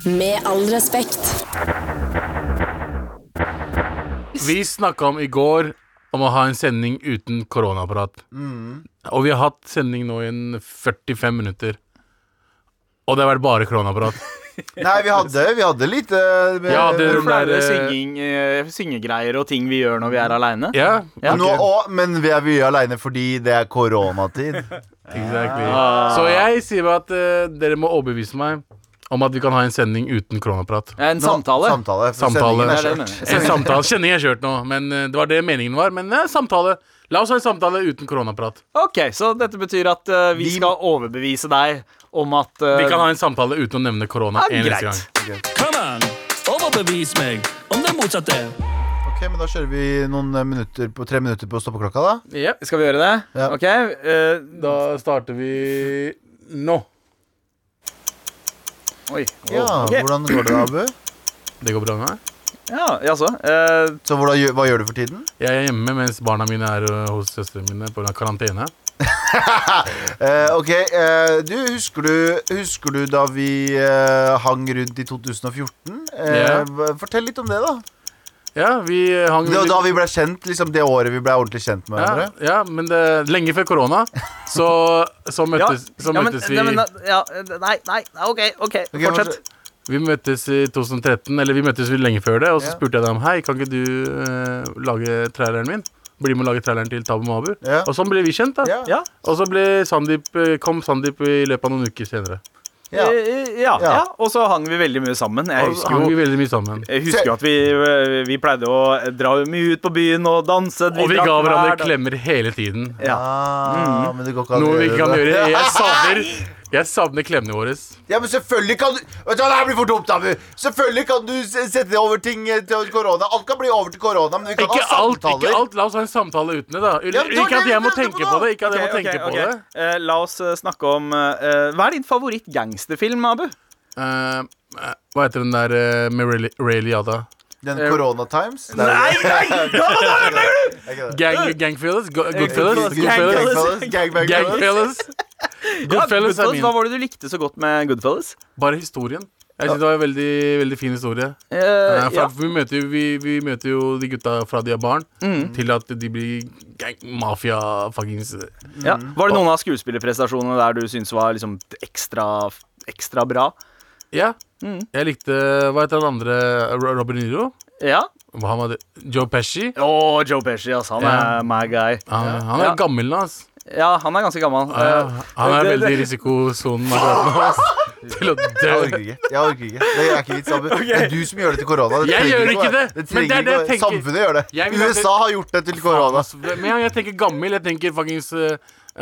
S5: Med all respekt.
S4: Vi snakka om i går om å ha en sending uten koronaprat. Og vi har hatt sending nå i en 45 minutter. Og det har vært bare koronaprat.
S2: Nei, vi hadde, vi hadde litt eh, med-
S4: Ja, det-
S2: men
S3: Hvorfor er det
S4: der, eh,
S3: synging, eh, syngegreier og ting vi gjør når vi er aleine?
S4: Ja,
S3: Ja.
S2: nå òg, men vi er mye aleine fordi det er koronatid.
S4: exactly.
S3: Ah.
S4: Så jeg sier bare at eh, dere må overbevise meg om at vi kan ha en sending uten koronaprat.
S3: Eh, En
S2: Nå-
S3: samtale.
S2: Samtale. for sendingen
S4: Samtale.
S3: Det
S2: er
S3: er det jeg
S2: kjørt.
S3: mener.
S4: En samtale. Kjenner jeg kjørt nå, men eh, det var det meningen var. Men eh, samtale. La oss ha en samtale uten koronaprat.
S3: Ok, Så dette betyr at eh, vi
S2: Vi-
S3: skal overbevise deg om at eh,
S4: Vi kan ha en samtale uten å nevne korona
S3: ja,
S4: en eneste gang.
S3: greit.
S6: Come on, overbevis meg om det motsatte.
S2: Ok, men da kjører vi noen eh, minutter på, tre minutter på stoppeklokka, da.
S4: Jep.
S3: Skal vi gjøre det?
S2: Ja.
S3: Ok. eh,
S4: Da starter vi nå.
S3: oi.
S2: Ja,
S3: Ok.
S2: Hvordan går det, Abu?
S4: Det går bra med meg?
S3: Ja, jaså. Eh,
S2: Så hvordan, gjør- Hva gjør du for tiden?
S4: Jeg er hjemme mens barna mine er øh, hos søstrene mine på grunn av karantene.
S2: Eh, ok, eh, du, husker du Husker du da vi eh, hang rundt i 2014? Eh,
S4: Ja.
S2: hva- Fortell litt om det, da.
S4: Ja, vi øh, hang
S2: Det var da vi ble kjent, liksom det året vi ble ordentlig kjent med
S4: ja,
S2: hverandre.
S4: ja, men det, lenge før korona så, så
S3: ja.
S4: møttes, så
S3: Ja, men-
S4: møttes
S3: Nei, men,
S4: vi
S3: ja, nei, nei, OK, ok,
S2: Ok, altså,
S3: fortsett.
S4: Vi møttes i 2013, eller vi møttes vel lenge før det, og så
S2: Ja.
S4: spurte jeg deg om Hei, kan ikke du eh, lage traileren min? Bli med å lage traileren til Tabu Mabu.
S2: Ja.
S4: Og sånn ble vi kjent, da.
S2: Ja.
S3: Ja.
S4: Og så ble Sandeep, eh, kom Sandeep i løpet av noen uker senere.
S2: Ja.
S3: Eh,
S2: Ja.
S3: ja, ja. Og så hang vi veldig mye sammen. Jeg
S4: Og så
S3: husker
S4: hang vi
S3: jo
S4: veldig mye sammen.
S3: jeg husker jo at vi, eh, vi pleide å dra mye ut på byen og danse.
S4: Og vi
S3: drakk
S4: ga
S3: hver
S4: hverandre
S3: dag.
S4: klemmer hele tiden.
S3: Ja.
S2: Ah, Men det går ikke an å
S4: Mm. Noe vi ikke kan
S2: det.
S4: gjøre. Jeg savner, jeg savner klemmene våre.
S2: Ja, men selvfølgelig kan du Vet du hva, det her blir for dumt, Abu. Selvfølgelig kan du s- sette det over ting eh, til korona. Alt kan bli over til korona, men vi kan
S4: Ikke
S2: ha
S4: alt,
S2: samtaler.
S4: ikke alt. La oss ha en samtale uten det,
S2: Ja,
S4: da.
S2: men det var
S4: Ikke at
S2: det
S4: jeg
S2: vi
S4: må
S2: prøvde
S4: tenke
S2: på
S4: på
S2: nå.
S4: det. Ikke at jeg må
S3: Ok,
S4: tenke
S3: ok,
S4: på
S3: ok.
S4: det.
S3: Eh, la oss eh, snakke om eh, Hva er din favoritt-gangsterfilm, Abu?
S4: Eh, eh, hva heter den der eh, med Ray- Ray Liotta?
S2: Den
S4: Eh,
S2: Corona Times. Nei,
S3: nei!
S4: Gang, gangfellas? Go- Goodfellas?
S3: Goodfellas.
S4: Goodfellas?
S2: Gangbang
S4: Gangfellas? Goodfellas er
S3: Hva
S4: min.
S3: var det du likte så godt med Goodfellas?
S4: Bare historien. Jeg synes det var en veldig, veldig fin historie.
S3: Eh,
S4: Eh, for
S3: ja.
S4: at vi, møter jo, vi, vi møter jo de gutta fra de er barn,
S3: Mm.
S4: til at de blir gang, mafia fuckings
S3: Ja. Var det noen av skuespillerprestasjonene der du syntes var liksom ekstra, ekstra bra?
S4: Ja.
S3: Mm.
S4: Jeg likte Hva heter han andre? Ro- Robin Niro?
S3: Ja.
S4: Han var det. Joe Pesci?
S3: Å, Joe Pesci, ass. Han
S4: Ja.
S3: er my guy.
S4: Han, han er
S3: Ja.
S4: gammel nå, ass.
S3: Ja, han er ganske gammel.
S4: Ja,
S3: Eh,
S4: han er
S3: det-
S4: veldig i
S3: det-
S4: risikosonen akkurat nå, ass. Til å
S2: Jeg orker
S4: dø.
S2: ikke. Jeg orker ikke. Det er ikke vits, Abu. Det er du som gjør det til korona. Det
S4: Jeg
S2: trenger
S4: gjør
S2: å
S4: ikke
S2: være-
S4: det,
S2: det
S4: men det
S2: trenger
S4: er
S2: ikke å
S4: det jeg
S2: være-
S4: tenker.
S2: Samfunnet gjør
S4: Jeg
S2: det.
S4: vil at det-
S2: USA har gjort det til
S4: Faen,
S2: korona.
S4: ass. Altså, Med en gang jeg tenker gammel, jeg tenker fuckings eh,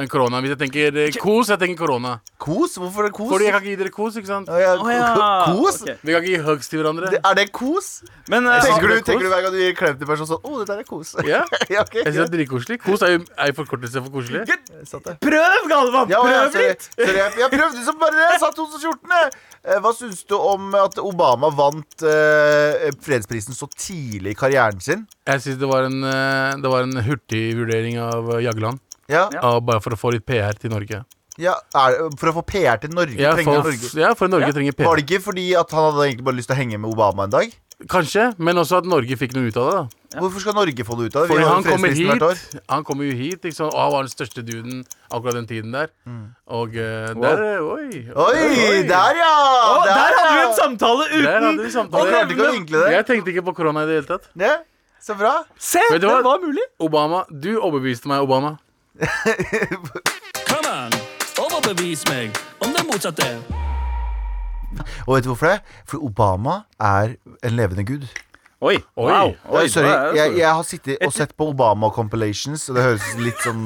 S4: korona. Hvis jeg tenker eh, kos, jeg tenker korona.
S2: Kos? Hvorfor er det kos?
S4: Fordi jeg kan ikke gi dere kos, ikke sant?
S2: Å, ja,
S3: Å, ja.
S2: Kos?
S3: Ok.
S4: Vi kan ikke gi hugs til hverandre.
S2: Det- Er det kos?
S3: Men eh,
S2: Tenker du,
S4: det er
S2: tenker du
S4: kos.
S2: hver gang du gir en klem til en person sånn Å, dette er kos.
S4: Ja,
S2: ja, ok.
S4: jeg synes det er dritkoselig. Kos er jo er jo forkortelse for koselig.
S2: Jeg satt det.
S3: prøv, Galvan!
S2: Ja, ja,
S3: Prøv
S2: sorry,
S3: litt!
S2: sorry, jeg, jeg prøvde som bare det. Jeg sa 2014. jeg. Eh, Hva syns du om at Obama vant eh, fredsprisen så tidlig i karrieren sin?
S4: Jeg synes det var en, eh, det var en hurtig vurdering av eh, Jagland.
S2: Ja,
S3: Ja.
S4: Av bare for å få litt PR til Norge.
S2: ja er, For å få PR til Norge,
S4: Ja,
S2: trenger
S4: for,
S2: Norge.
S4: ja, for Norge trenger
S2: Var
S4: PR.
S2: det ikke fordi at han hadde egentlig bare lyst til å henge med Obama en dag?
S4: Kanskje, men også at Norge fikk noe ut av det. da
S2: Hvorfor skal Norge få det ut av det?
S4: Fordi
S2: har jo
S4: han kommer
S2: fredsprisen hvert år.
S4: hit. Han kommer jo hit, ikke sant? Og han var den største duden akkurat den tiden der. Og eh, der eh, Oi!
S2: Mm. Oi, der ja!
S3: Å, der hadde du
S2: ja.
S3: en samtale
S4: Der hadde
S3: uten
S4: vi
S2: Han
S4: samtale.
S2: klarte ikke å vinkle det.
S4: Jeg tenkte ikke på korona i det hele tatt.
S2: det. Så bra.
S3: Se,
S4: Vet du
S3: det
S4: hva?
S3: var mulig.
S4: Obama, du overbeviste meg, Obama.
S6: Kom an, overbevis meg om det motsatte.
S2: Og vet du hvorfor det? For Obama er en levende gud.
S3: Oi. Wow. Oi,
S2: Oi, sorry,
S3: det er-
S2: jeg, jeg har sittet og sett på Obama-compilations, og det høres litt sånn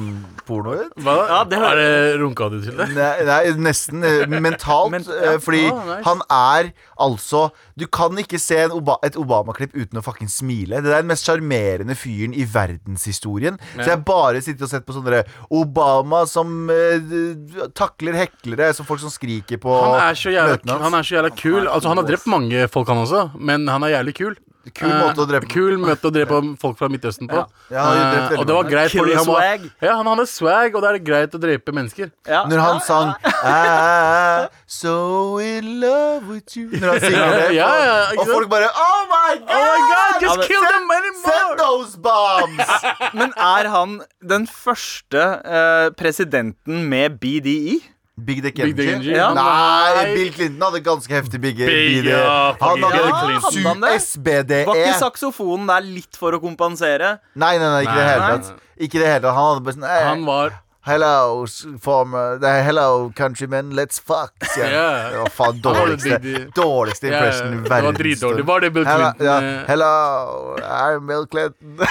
S2: porno ut.
S4: Hva da?
S3: Ja, det var-
S4: Er det runka du til det?
S2: Nei, nei nesten eh, mentalt.
S3: Men-
S2: eh, Fordi
S4: Ah, nice.
S2: han er altså Du kan ikke se en Oba et Obama-klipp uten å fucking smile. Det er den mest sjarmerende fyren i verdenshistorien. Så jeg bare sitter og sett på sånne Obama som eh, d- takler heklere, som folk som skriker på
S4: Han er så jævla,
S2: møtene hans.
S4: han er så jævla kul. Altså, han har drept mange folk, han også, men han er jævlig kul.
S2: Kul måte å drepe-
S4: Eh, Kul måte å drepe folk fra Midtøsten på.
S2: Ja, han har drept
S4: Eh,
S2: veldig
S4: og det var
S2: mange.
S4: greit fordi
S3: Killer
S4: han var
S3: swag.
S4: Ja, han hadde swag, og da er det greit å drepe mennesker.
S3: Ja.
S2: Når han sang I'm So in love with you Når han synger det
S4: Ja, ja, ikke
S2: Og
S4: sant?
S2: folk bare Oh my god,
S4: Oh my god,
S3: Ja,
S4: just
S3: men-
S4: kill them
S2: Send
S4: anymore!
S2: those bombs
S3: Men er han den første eh, presidenten med BDI?
S2: Big Dick
S4: Big Dick
S2: Energy
S4: Energy.
S3: Ja.
S2: Nei, Bill Clinton hadde ganske heftig Big,
S4: Big,
S2: BD.
S4: ja,
S2: Han
S4: fucking
S2: hadde
S4: Bill
S3: Clinton.
S2: su-
S3: Hadde han det?
S2: SBDE
S3: Var ikke saksofonen der litt for å kompensere?
S2: E. Nei, nei, nei, ikke i det hele
S4: Nei.
S2: tatt Ikke i det hele tatt, han hadde bare sånn
S4: Han
S2: eh,
S4: var
S2: Hello, s- former nei, Hello, countrymen, let's fuck sier han.
S4: Ja.
S2: Det var faen dårligste
S4: Han var Big Dick.
S2: Dårligste
S4: Ja, ja,
S2: impression i
S4: det var
S2: verden
S4: dritdårlig. Var det Bill
S2: Hello,
S4: Clinton,
S2: ja,
S4: eh?
S2: Hello, I'm Bill Clinton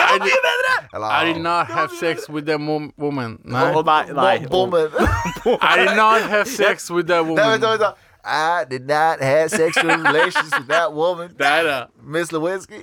S2: Hello.
S4: I did not have sex with that mom- woman. Nei.
S3: Å, nei, nei.
S2: Bomber.
S4: I did not have sex with that
S2: Nei, vent, da,
S4: woman.
S2: vent, da. I did not have sexual relations with that woman.
S4: Der, ja.
S2: Miss Lewinsky.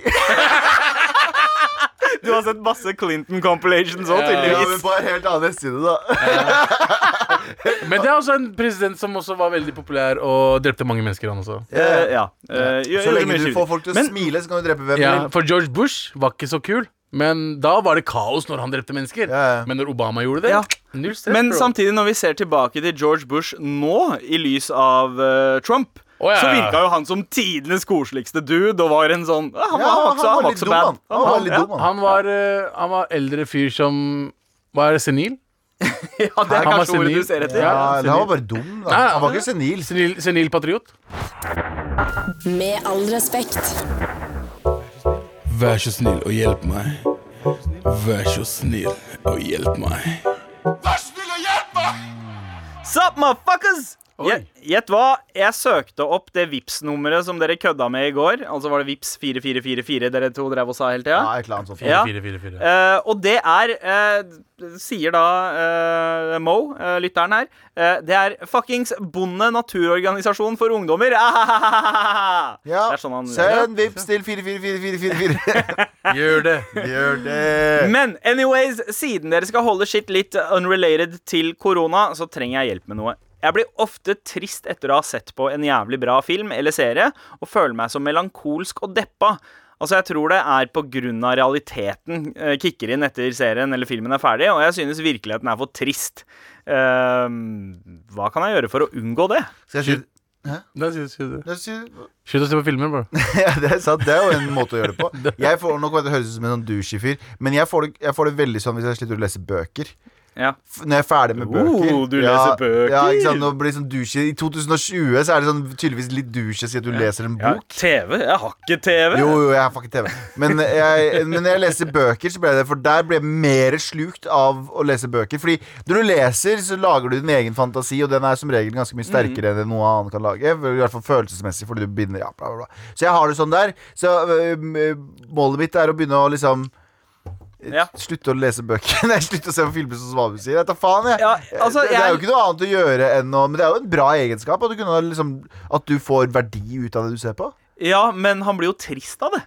S3: Du har sett masse Clinton compilations òg,
S2: Ja, men
S3: tydeligvis.
S2: på en helt annen side, da.
S4: Men det er også en president som også var veldig populær og drepte mange mennesker, han også.
S3: Eh, ja. Eh, gjør-
S2: Så
S3: gjør
S2: lenge
S3: mye
S2: du
S3: skitt.
S2: får folk til å
S3: Men-
S2: smile, så kan du drepe hvem du
S4: Ja,
S2: vil.
S4: for George Bush var ikke så kul, men da var det kaos når han drepte mennesker.
S2: Ja, ja.
S4: Men når Obama gjorde det,
S3: Ja.
S4: null stress.
S3: Men
S4: bro.
S3: samtidig, når vi ser tilbake til George Bush nå, i lys av eh, Trump,
S4: Å, ja,
S3: så
S4: ja.
S3: virka jo han som tidenes koseligste dude og var en sånn ah, Han,
S2: Ja,
S3: var- han, var ikke så- han var ikke
S2: litt
S3: så
S2: dum, han.
S3: bad.
S2: Han var litt dum, han.
S4: han, var, eh, han var eldre fyr som Var senil?
S3: Ja, det er
S4: Han var
S3: kanskje ordet
S4: senil.
S3: du ser etter.
S2: Ja,
S4: Ja,
S2: eller han var bare dum, da.
S4: Nei,
S2: Han var
S4: ja.
S2: ikke senil.
S4: Senil, senil patriot?
S5: Med all respekt.
S7: Vær så snill og hjelp meg. Vær så snill og hjelp meg.
S3: Sup, motherfuckers!
S4: Oi.
S3: Gje- Gjett hva? Jeg søkte opp det vips nummeret som dere kødda med i går. Altså var det Vips 4444 dere to drev og sa hele tida.
S2: Ja, et eller annet sånt.
S3: Ja.
S4: Fire, fire, fire.
S3: Eh, og det er eh, Sier da eh, Mo, eh, lytteren her, eh, det er fuckings Bonde naturorganisasjon for ungdommer.
S2: Ja.
S3: Det er sånn han
S2: Send vips til 444444.
S4: Gjør det.
S2: Gjør det.
S3: Men anyways, siden dere skal holde shit litt unrelated til korona, så trenger jeg hjelp med noe. Jeg blir ofte trist etter å ha sett på en jævlig bra film eller serie, og føler meg så melankolsk og deppa. Altså, jeg tror det er på grunn av realiteten eh, kicker inn etter serien eller filmen er ferdig, og jeg synes virkeligheten er for trist. Ehm, hva kan jeg gjøre for å unngå det?
S2: Skal jeg si
S4: Da sier du- sier du det.
S2: jeg sier-
S4: Slutt å se på filmer, bro.
S2: Ja, det er sant. Det er jo en måte å gjøre det på. Jeg får nok Det høres ut som en sånn douchey-fyr, men jeg får, det, jeg får det veldig sånn hvis jeg slutter å lese bøker.
S3: Ja.
S2: F- Når jeg er ferdig med bøker.
S3: Oh, du
S2: ja,
S3: leser bøker.
S2: Ja, ikke sant? Nå blir det sånn douchey. I 2020 så er det sånn tydeligvis litt douchey å si at du leser en bok.
S3: TV? Jeg har ikke TV.
S2: Jo, jo, jeg har fucking TV. Men, jeg, men når jeg leser bøker, så ble det For der ble jeg mer slukt av å lese bøker. Fordi når du leser, så lager du din egen fantasi, og den er som regel ganske mye
S3: Mhm.
S2: sterkere enn det noe annet kan lage. I hvert fall følelsesmessig, fordi du begynner ja, bla, bla, bla. Så jeg har det sånn der. Så øhm, øh, målet mitt er å begynne å liksom
S3: Ja.
S2: Slutte å lese bøker. Nei, slutte å se på filmer som Svabu sier. Jeg tar faen, jeg.
S3: Ja, altså,
S2: det, det er jo
S3: jeg-
S2: ikke noe annet å gjøre enn å Men det er jo en bra egenskap at du, kunne, ha liksom, at du får verdi ut av det du ser på.
S3: Ja, men han blir jo trist av det.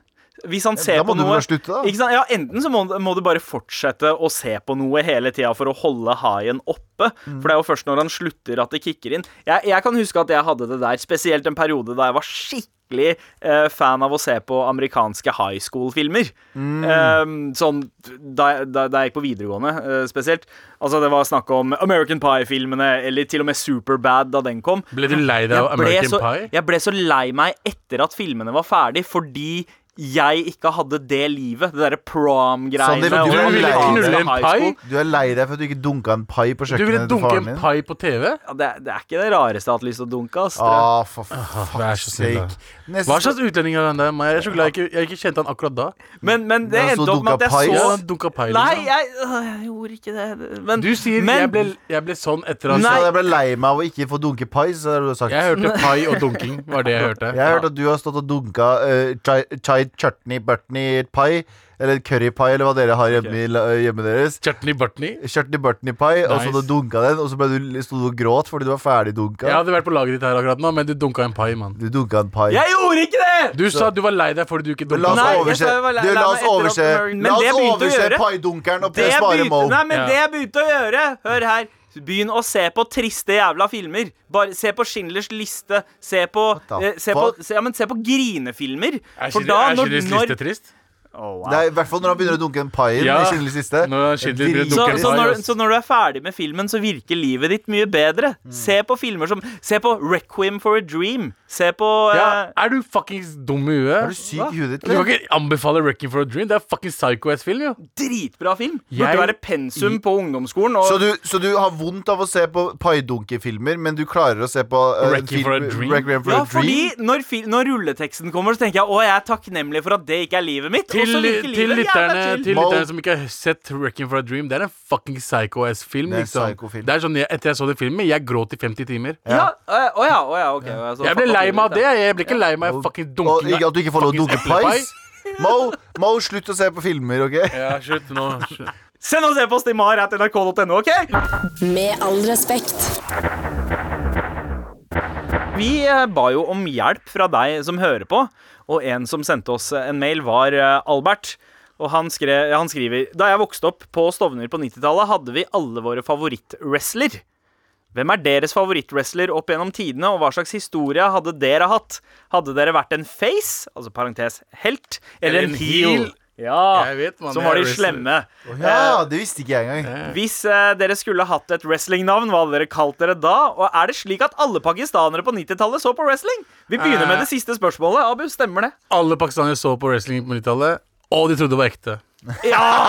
S3: Hvis han ser
S2: da må
S3: på
S2: du
S3: noe
S2: bare slutte, da.
S3: Ikke sant? Ja, Enten så må, må du bare fortsette å se på noe hele tida for å holde haien oppe.
S2: Mm.
S3: For det er jo først når han slutter at det kicker inn. Jeg, jeg kan huske at jeg hadde det der, spesielt en periode da jeg var skikkelig eh, fan av å se på amerikanske high school-filmer.
S2: Mm.
S3: Eh, sånn da, jeg- da, da jeg gikk på videregående, eh, spesielt. Altså Det var snakk om American Pie-filmene, eller til og med Superbad da den kom.
S4: Ble du lei deg av
S3: Jeg ble
S4: American
S3: så,
S4: Pie?
S3: Jeg ble så lei meg etter at filmene var ferdig, fordi jeg ikke hadde det livet. Det derre prom-greiene.
S2: Sander, du
S3: og
S2: ville
S3: amerikanske
S2: knulle
S4: en
S3: high school.
S4: pai?
S2: Du er lei deg for at du ikke dunka en pai på
S4: Du ville
S2: kjøkkenet til
S4: dunke
S2: faren
S4: en
S2: din?
S4: pai på TV?
S3: Ja, det, er- det er ikke det rareste jeg har hatt lyst til å dunke. Ass.
S2: Ah, for
S4: vær
S2: fuck's
S4: så snill, da.
S2: sake. Neste-
S4: Hva slags utlending er han der? Maja? Jeg er så glad jeg ikke, jeg ikke kjente han akkurat da.
S3: men, men det
S2: Ja, så
S3: endte opp med at
S2: dunka
S3: jeg
S2: pai.
S3: så
S4: Ja, han dunka pai,
S3: Nei,
S4: liksom.
S3: jeg, øh, jeg gjorde ikke det. Men,
S4: Du sier
S3: men,
S4: jeg, ble, jeg ble sånn etter å ha
S3: Nei.
S2: Så jeg ble lei meg av å ikke få dunke pai, så har du sagt.
S4: Jeg hørte pai og dunking, var det jeg hørte.
S2: Jeg har hørt at du har stått og dunka eh, chai, chai chutney burtney pai, eller curry pai, eller hva dere har hjemme, i la- hjemme deres.
S4: Chutney Burtney.
S2: Chutney burtney pai, og så du
S4: Nice.
S2: dunka den, og så ble du, stod du og gråt fordi du var ferdig dunka.
S4: Jeg hadde vært på laget ditt her akkurat nå, men du dunka en pai, mann.
S2: Du dunka en pai.
S3: Jeg gjorde ikke det!
S4: Du sa du var lei deg fordi du ikke
S2: Men la
S4: dunka.
S2: oss
S3: Nei, jeg
S2: overse,
S3: sa jeg var lei-
S2: du, la
S3: lei
S2: oss
S3: meg etter
S2: overse,
S3: at- Men
S2: la
S3: det
S2: oss
S3: begynte å
S2: overse
S3: gjøre.
S2: paidunkeren og
S3: Det jeg,
S2: spare
S3: begynte,
S2: Mo.
S3: nei, men
S4: Ja.
S3: det jeg begynte å gjøre Hør her. Begynn å se på triste jævla filmer. Bare Se på Schindlers liste. Se på,
S2: the
S3: eh, se på,
S2: fuck?
S3: se, ja, men se på grinefilmer.
S4: Er
S3: For
S4: Schindler-
S3: da,
S4: er
S3: når,
S4: Schindlers
S3: når
S4: liste trist?
S3: Oh, wow.
S2: Det er I hvert fall når han begynner å dunke en pai
S4: Ja,
S2: i Schindlers liste.
S4: når Schindler begynner å
S2: Drit-
S3: så,
S4: dunke en
S3: så,
S4: pai,
S3: når,
S4: ass.
S3: så når du er ferdig med filmen, så virker livet ditt mye bedre.
S2: Mm.
S3: Se på filmer som Se på Requiem for a Dream. Se på
S4: Ja,
S3: eh,
S4: er du fuckings dum i
S2: Er du
S4: huet?
S2: syk i huet ditt?
S4: Du kan ikke anbefale 'Wrecking for a Dream'. Det er fuckings psycho-ass film, jo.
S3: Dritbra film. Burde
S4: Jeg-
S3: være pensum på ungdomsskolen. Og,
S2: Så du, så du har vondt av å se på paidunkefilmer, men du klarer å se på eh,
S4: Requiem
S2: film-
S4: for a Dream.
S2: Requiem for
S3: ja,
S2: a
S3: fordi
S2: Dream?
S3: når, fil, når rulleteksten kommer, så tenker jeg å, jeg er takknemlig for at det ikke er livet mitt. og
S4: Til,
S3: så virker
S4: til,
S3: livet jævla
S4: lytterne,
S3: chill.
S4: til
S2: Mal-
S4: lytterne som ikke har sett 'Wrecking for a Dream', det er en fucking psycho-ass film.
S2: Det er en
S4: Liksom.
S2: psycho-film.
S4: Det er sånn, jeg, Etter jeg så den filmen, jeg gråt i 50 timer.
S3: Ja, å ja, å ja, å ja, ok. Altså, å ja, så
S4: Jeg ble
S3: fuck
S4: lei
S3: opp
S4: meg av det.
S3: livet,
S4: Jeg ble ikke lei meg av fucking
S2: Og
S4: dunking.
S2: ikke, at du ikke får lov å dunke
S4: Fuckings
S2: pies? Mo, Mo, slutt å se på filmer, OK?
S4: Ja, slutt nå. Slutt.
S3: da. Send oss e-post til mar.nrk.no, ok?
S5: Med all respekt.
S3: Vi eh, ba jo om hjelp fra deg som hører på, og en som sendte oss eh, en mail, var eh, Albert. Og han, skre, han skriver Da jeg vokste opp på Stovner på 90-tallet, hadde vi alle våre favorittwrestler. Hvem er deres favorittwrestler opp gjennom tidene, og hva slags historie hadde dere hatt? Hadde dere vært en face, altså parentes helt, eller en heel? Ja,
S4: Jeg vet, mann,
S3: som
S4: jeg
S3: var
S4: er
S3: de
S4: wrestler.
S3: slemme. Eh,
S2: Ja, det visste ikke jeg engang.
S3: Hvis eh, dere skulle hatt et wrestlingnavn, hva hadde dere kalt dere da? Og er det slik at alle pakistanere på 90-tallet så på wrestling? Vi begynner
S2: Eh.
S3: med det siste spørsmålet. Abu, stemmer det?
S4: Alle pakistanere så på wrestling på 90-tallet, og de trodde det var ekte.
S3: Ja!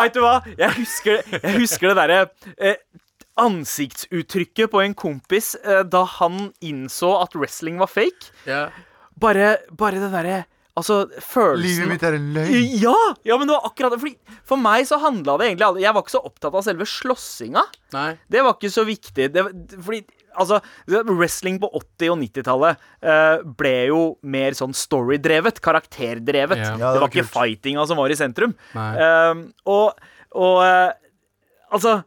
S3: Veit du hva? Jeg husker, jeg husker det derre eh, ansiktsuttrykket på en kompis eh, da han innså at wrestling var fake. Bare, bare det derre Altså, følelsen
S2: Livet mitt er en løgn.
S3: ja, ja, men det var akkurat det. Fordi for meg så handla det egentlig aldri Jeg var ikke så opptatt av selve slåssinga.
S4: Nei.
S3: Det var ikke så viktig. Det, fordi altså, wrestling på 80- og 90-tallet eh, ble jo mer sånn story-drevet, karakterdrevet.
S4: Ja. Ja, det
S3: det,
S2: var
S3: var ikke
S2: kult.
S3: fightinga som var i sentrum.
S4: Nei.
S3: Ehm, og og eh, altså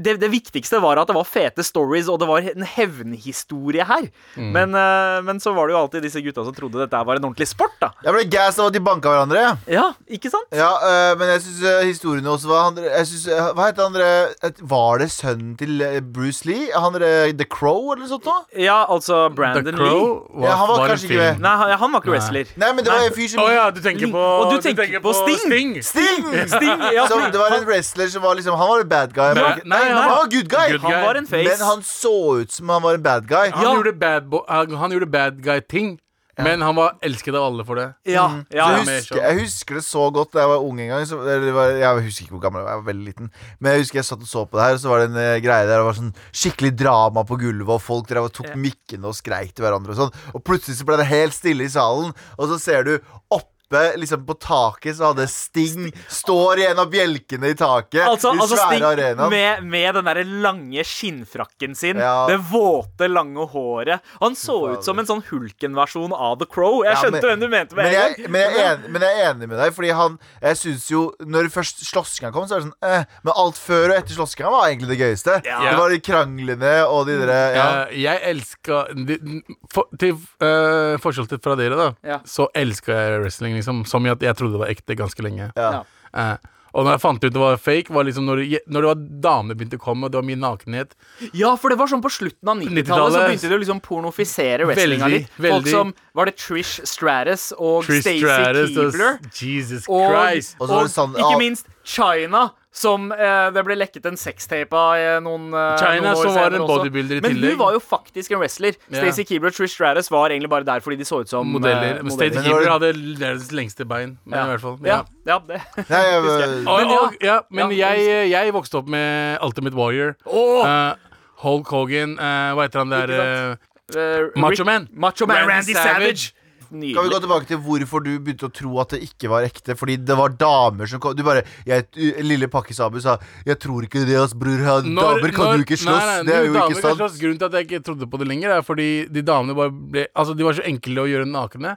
S3: det, det viktigste var at det var fete stories, og det var en hevnhistorie her.
S4: Mm.
S3: Men, eh, men så var det jo alltid disse gutta som trodde dette her var en ordentlig sport, da.
S2: Jeg ble gass av at de banka hverandre.
S3: Ja, ikke sant?
S2: Ja, øh, men jeg syns historiene også var han, jeg synes, øh, Hva het han dere et- Var det sønnen til øh, Bruce Lee? Han dere The Crow, eller noe sånt? nå?
S3: Ja, altså
S4: The
S3: Brandon Lee.
S4: Crow var,
S2: Ja, han var
S4: var en
S2: kanskje ikke
S4: film.
S2: med.
S3: Nei, han, han var ikke
S4: Nei.
S3: wrestler.
S2: Nei, men det var en fyr som
S4: Å ja, du tenker
S3: Lee.
S4: på
S3: Og du tenker på Sting.
S2: Sting!
S3: Sting, ja,
S2: Som,
S3: fordi
S2: det var
S3: han-
S2: en wrestler som var liksom Han var en bad guy.
S4: Nei,
S2: men ikke-
S4: nei, han
S2: han
S4: var-
S2: var good guy.
S4: Good guy.
S3: Han var en face.
S2: Men han så ut som han var en bad guy.
S4: Han
S3: Ja.
S4: gjorde bad, bo- han- han gjorde bad guy-ting, men han var elsket av alle for det.
S3: ja, ja,
S2: Mm. Så
S3: ja.
S2: jeg,
S4: mer
S2: husker,
S4: sånn.
S2: jeg husker det så godt da jeg var ung en gang. Så, eller det var, jeg husker ikke hvor gammel jeg var, jeg var veldig liten. Men jeg husker jeg satt og så på det her, og så var det en eh, greie der det var sånn skikkelig drama på gulvet, og folk drev og tok mikkene og skreik til hverandre og sånn. Og plutselig så ble det helt stille i salen, og så ser du oppe liksom På taket så hadde Sting står i en av bjelkene i taket.
S3: Altså,
S2: I den
S3: altså
S2: svære
S3: Sting
S2: arenaen.
S3: med, med den der lange skinnfrakken sin,
S2: Ja.
S3: det våte, lange håret Han så ut som en sånn Hulken-versjon av The Crow. Jeg
S2: Ja,
S3: skjønte
S2: men-
S3: hvem du mente med
S2: Men
S3: en
S2: jeg,
S3: gang.
S2: men, jeg er enig, men jeg er enig med deg, Fordi han Jeg synes jo Når først slåssinga kom, så er det sånn eh, Men alt før og etter slåssinga var egentlig det gøyeste. Det var de kranglene og de derre ja.
S4: Eh, jeg elska de- for, Til eh, forskjell til fra dere, da,
S3: Ja.
S4: så elska jeg wrestling, liksom. Som jeg, jeg trodde det var ekte ganske lenge.
S2: Ja.
S3: Ja.
S4: Eh, og når jeg fant ut det var fake, var liksom når, det- når det var damene begynte å komme, og det var mye nakenhet.
S3: Ja, for det var sånn på slutten av 90-tallet så
S4: 90-tallet.
S3: begynte de å liksom pornofisere wrestlinga
S4: Veldig,
S3: litt. Folk
S4: veldig.
S3: som Var det Trish Stratus og
S4: Trish
S3: Stacey
S4: Stratus og-
S3: Keebler?
S4: Jesus
S3: Og,
S4: Christ.
S2: Og så var
S3: og
S2: det sånn-
S3: ikke minst China, som eh, det ble lekket en sextape av eh, noen, eh,
S4: China,
S3: noen år
S4: som var
S3: senere
S4: en
S3: også.
S4: bodybuilder i
S3: Men
S4: tillegg.
S3: hun var jo faktisk en wrestler.
S4: Ja.
S3: Stacey Keebler og Trish Stratus var egentlig bare der fordi de så ut som eh,
S4: Modeller. Men State
S2: Men det var
S4: Keeper hadde verdens lengste bein. Men
S3: Ja.
S4: i hvert fall
S3: Ja, ja det
S2: Nei, jeg,
S4: Og,
S3: Men
S4: men
S3: ja.
S4: og, ja, men
S3: Ja.
S4: jeg, jeg vokste opp med Ultimate Warrior. Eh, Hulk Hogan, eh, hva heter han der
S3: Ikke
S4: eh,
S3: Eh,
S4: Macho
S3: Rick-
S4: Man.
S3: Macho Man Randy
S4: Randy
S3: Savage.
S2: kan vi gå
S3: Nydelig.
S2: tilbake til hvorfor du begynte å tro at det ikke var ekte? Fordi det var damer som kom Du bare jeg, Lille Pakkis Abu sa 'Jeg tror ikke det, ass, bror. Han- Damer kan
S4: når-
S2: jo ikke slåss'.
S4: nei, nei,
S2: det er jo
S4: damer
S2: ikke
S4: kan
S2: sant.
S4: slåss. Grunnen til at jeg ikke trodde på det lenger, er fordi de damene bare ble Altså, de var så enkle å gjøre nakne.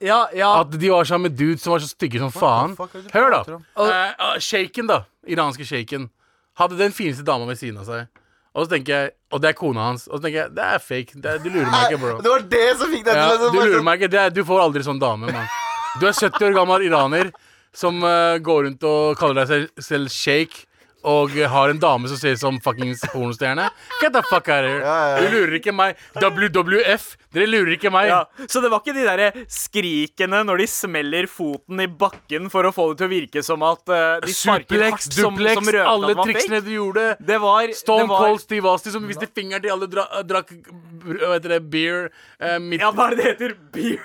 S3: Ja, ja.
S4: At de var sammen med dudes som var så stygge som faen.
S2: Ah. fuck er det du
S4: Hør,
S2: prater
S4: da.
S2: om?
S4: Eh, ah, Shaken, da. Iranske shaken. Hadde den fineste dama ved siden av seg. Og så tenker jeg Og det er kona hans. Og så tenker jeg det er fake. Det er, du lurer meg ikke, bro.
S2: Det var det som fikk deg til
S4: Ja,
S2: å
S4: du lurer meg ikke. Det er, du får aldri sånn dame, mann. Du er 70 år gammel iraner som eh, går rundt og kaller deg selv, selv shake. Og eh, har en dame som ser ut som fuckings pornostjerne. Get the fuck out of here.
S2: Ja, ja, ja.
S4: Du lurer ikke meg. WWF, dere lurer ikke meg.
S3: Ja. Så det var ikke de der skrikene når de smeller foten i bakken for å få det til å virke som at eh, de sparker
S4: Suplex,
S3: hardt som,
S4: duplex,
S3: som røpte at
S4: alle
S3: det var
S4: triksene
S3: fake.
S4: du gjorde.
S3: Det var,
S4: Stone
S3: det var
S4: Cold Steve Austin som viste fingeren til alle dra, eh, drakk br- hva heter det, beer, eh, midt, eh,
S3: Ja, hva er det det heter? Beer.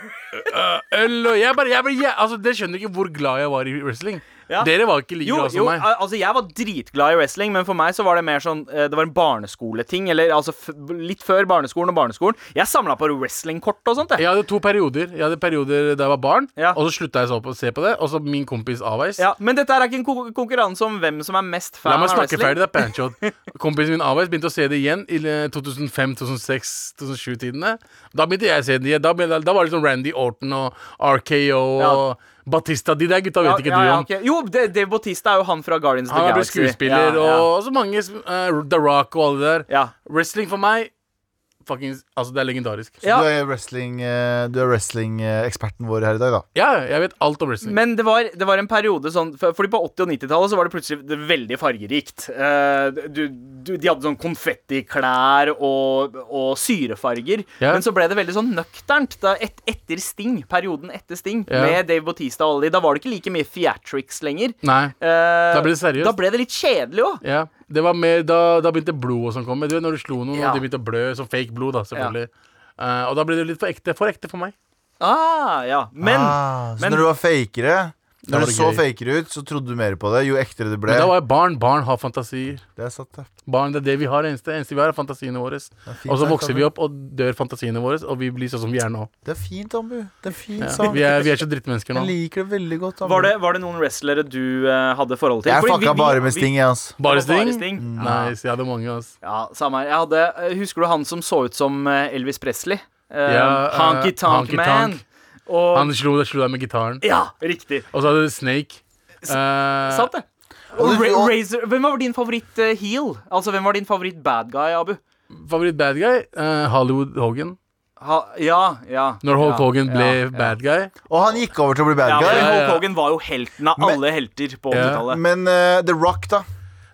S4: øl og jeg bare, jeg bare jeg, altså, Dere skjønner ikke hvor glad jeg var i wrestling.
S3: Ja.
S4: Dere var ikke like
S3: Jo,
S4: glad som
S3: jo
S4: meg.
S3: al- altså jeg var dritglad i wrestling, men for meg så var det mer sånn eh, Det var en barneskoleting, eller altså f litt før barneskolen og barneskolen. Jeg samla på wrestlingkort og sånt, jeg.
S4: Jeg hadde to perioder. Jeg hadde perioder da jeg var barn,
S3: Ja.
S4: og så slutta jeg så på, å se på det. Og så min kompis Aveis.
S3: Ja, men dette er ikke en ko konkurranse om hvem som er mest fan
S4: La meg
S3: av
S4: snakke
S3: wrestling.
S4: ferdig, da, Pancho. Kompisen min Aveis begynte å se det igjen i eh, 2005-2006-2007-tidene. Da begynte jeg å se det igjen. Da, begynte, da var det sånn Randy Orton og RKO og Batista. De der gutta vet ikke
S3: ja,
S4: du
S3: ja,
S4: om.
S3: ok. Jo, D- Dave Bautista er jo han fra Guardians of
S4: Han
S3: the
S4: har blitt
S3: Galaxy.
S4: skuespiller,
S3: Ja,
S4: og så mange som- eh, The Rock og alle der.
S3: ja.
S4: Wrestling for meg fucking Altså, det er legendarisk.
S3: Ja.
S2: Du er wrestling, eh, du er wrestling-eksperten vår her i dag, da.
S4: Ja, jeg vet alt om wrestling.
S3: Men det var, det var en periode sånn for- Fordi på 80- og 90-tallet så var det plutselig det veldig fargerikt. Eh, du, du, de hadde sånn konfettiklær og, og syrefarger.
S4: Ja.
S3: Men så ble det veldig sånn nøkternt da, et, etter Sting, perioden etter Sting,
S4: Ja.
S3: med Dave Bautista og alle de. Da var det ikke like mye theatrics lenger.
S4: Nei.
S3: Eh,
S4: Da ble det seriøst.
S3: Da ble det litt kjedelig òg.
S4: Ja, det var mer da, da begynte blod og sånn komme. Du vet når du slo noen,
S3: Ja.
S4: og de begynte å blø som fake blod, da, selvfølgelig. Eh, og da ble det litt for ekte for, ekte for meg.
S3: Ah, ja. Men
S2: ah, så
S3: men-
S2: når du var fakere
S4: Da var
S2: Når du
S4: det
S2: så
S4: gøy.
S2: fakere ut, så trodde du mer på det. Jo ektere det ble.
S4: Men da var jeg barn. Barn har fantasier.
S2: Det er sant, det.
S4: Barn, Det er det vi har. Det eneste, eneste vi har, er fantasiene våre.
S2: fint, altså.
S4: Og så
S2: det,
S4: vokser vi
S2: Tommy.
S4: opp og dør fantasiene våre, og vi blir sånn som vi er nå.
S2: Det er fint, Ambu. Det er fint,
S4: Ja.
S2: sant.
S4: Vi, er, vi er så drittmennesker nå.
S2: Jeg liker det veldig godt. Ambu.
S3: var det, var det noen wrestlere du eh, hadde forhold til?
S2: Jeg
S3: Fordi vi-
S2: fucka
S3: vi-
S2: bare med
S3: vi-
S2: Sting, jeg, altså.
S4: Bare
S3: Det var bare
S4: Sting?
S3: Sting.
S4: Mm.
S3: Ja.
S4: Nice, jeg hadde mange, ass.
S3: Ja, samme her. Jeg hadde, eh, husker du han som så ut som eh, Elvis Presley? Eh,
S4: Ja, eh,
S3: Honky Tonk
S4: Honky
S3: Man.
S4: Tonk.
S3: Og
S4: Han slo, slo deg med gitaren.
S3: Ja, riktig.
S4: Og så hadde du Snake. Eh,
S3: Sant det.
S2: Og
S3: Og
S2: du-
S3: Ra
S2: og-
S3: Razor, hvem var din favoritt eh, heel? Altså, hvem var din favoritt bad guy, Abu?
S4: favoritt bad guy? Eh, Hollywood Hogan.
S3: Ha, ja, ja.
S4: Når Hulk
S3: ja,
S4: Hogan ble
S3: ja,
S4: bad guy.
S2: Og han gikk over til å bli bad
S3: Ja,
S2: guy.
S3: men
S4: Ja, ja.
S3: Hulk Hogan var jo helten av
S2: Men-
S3: alle helter på
S4: Ja.
S3: 80-tallet.
S2: Men eh, The Rock, da.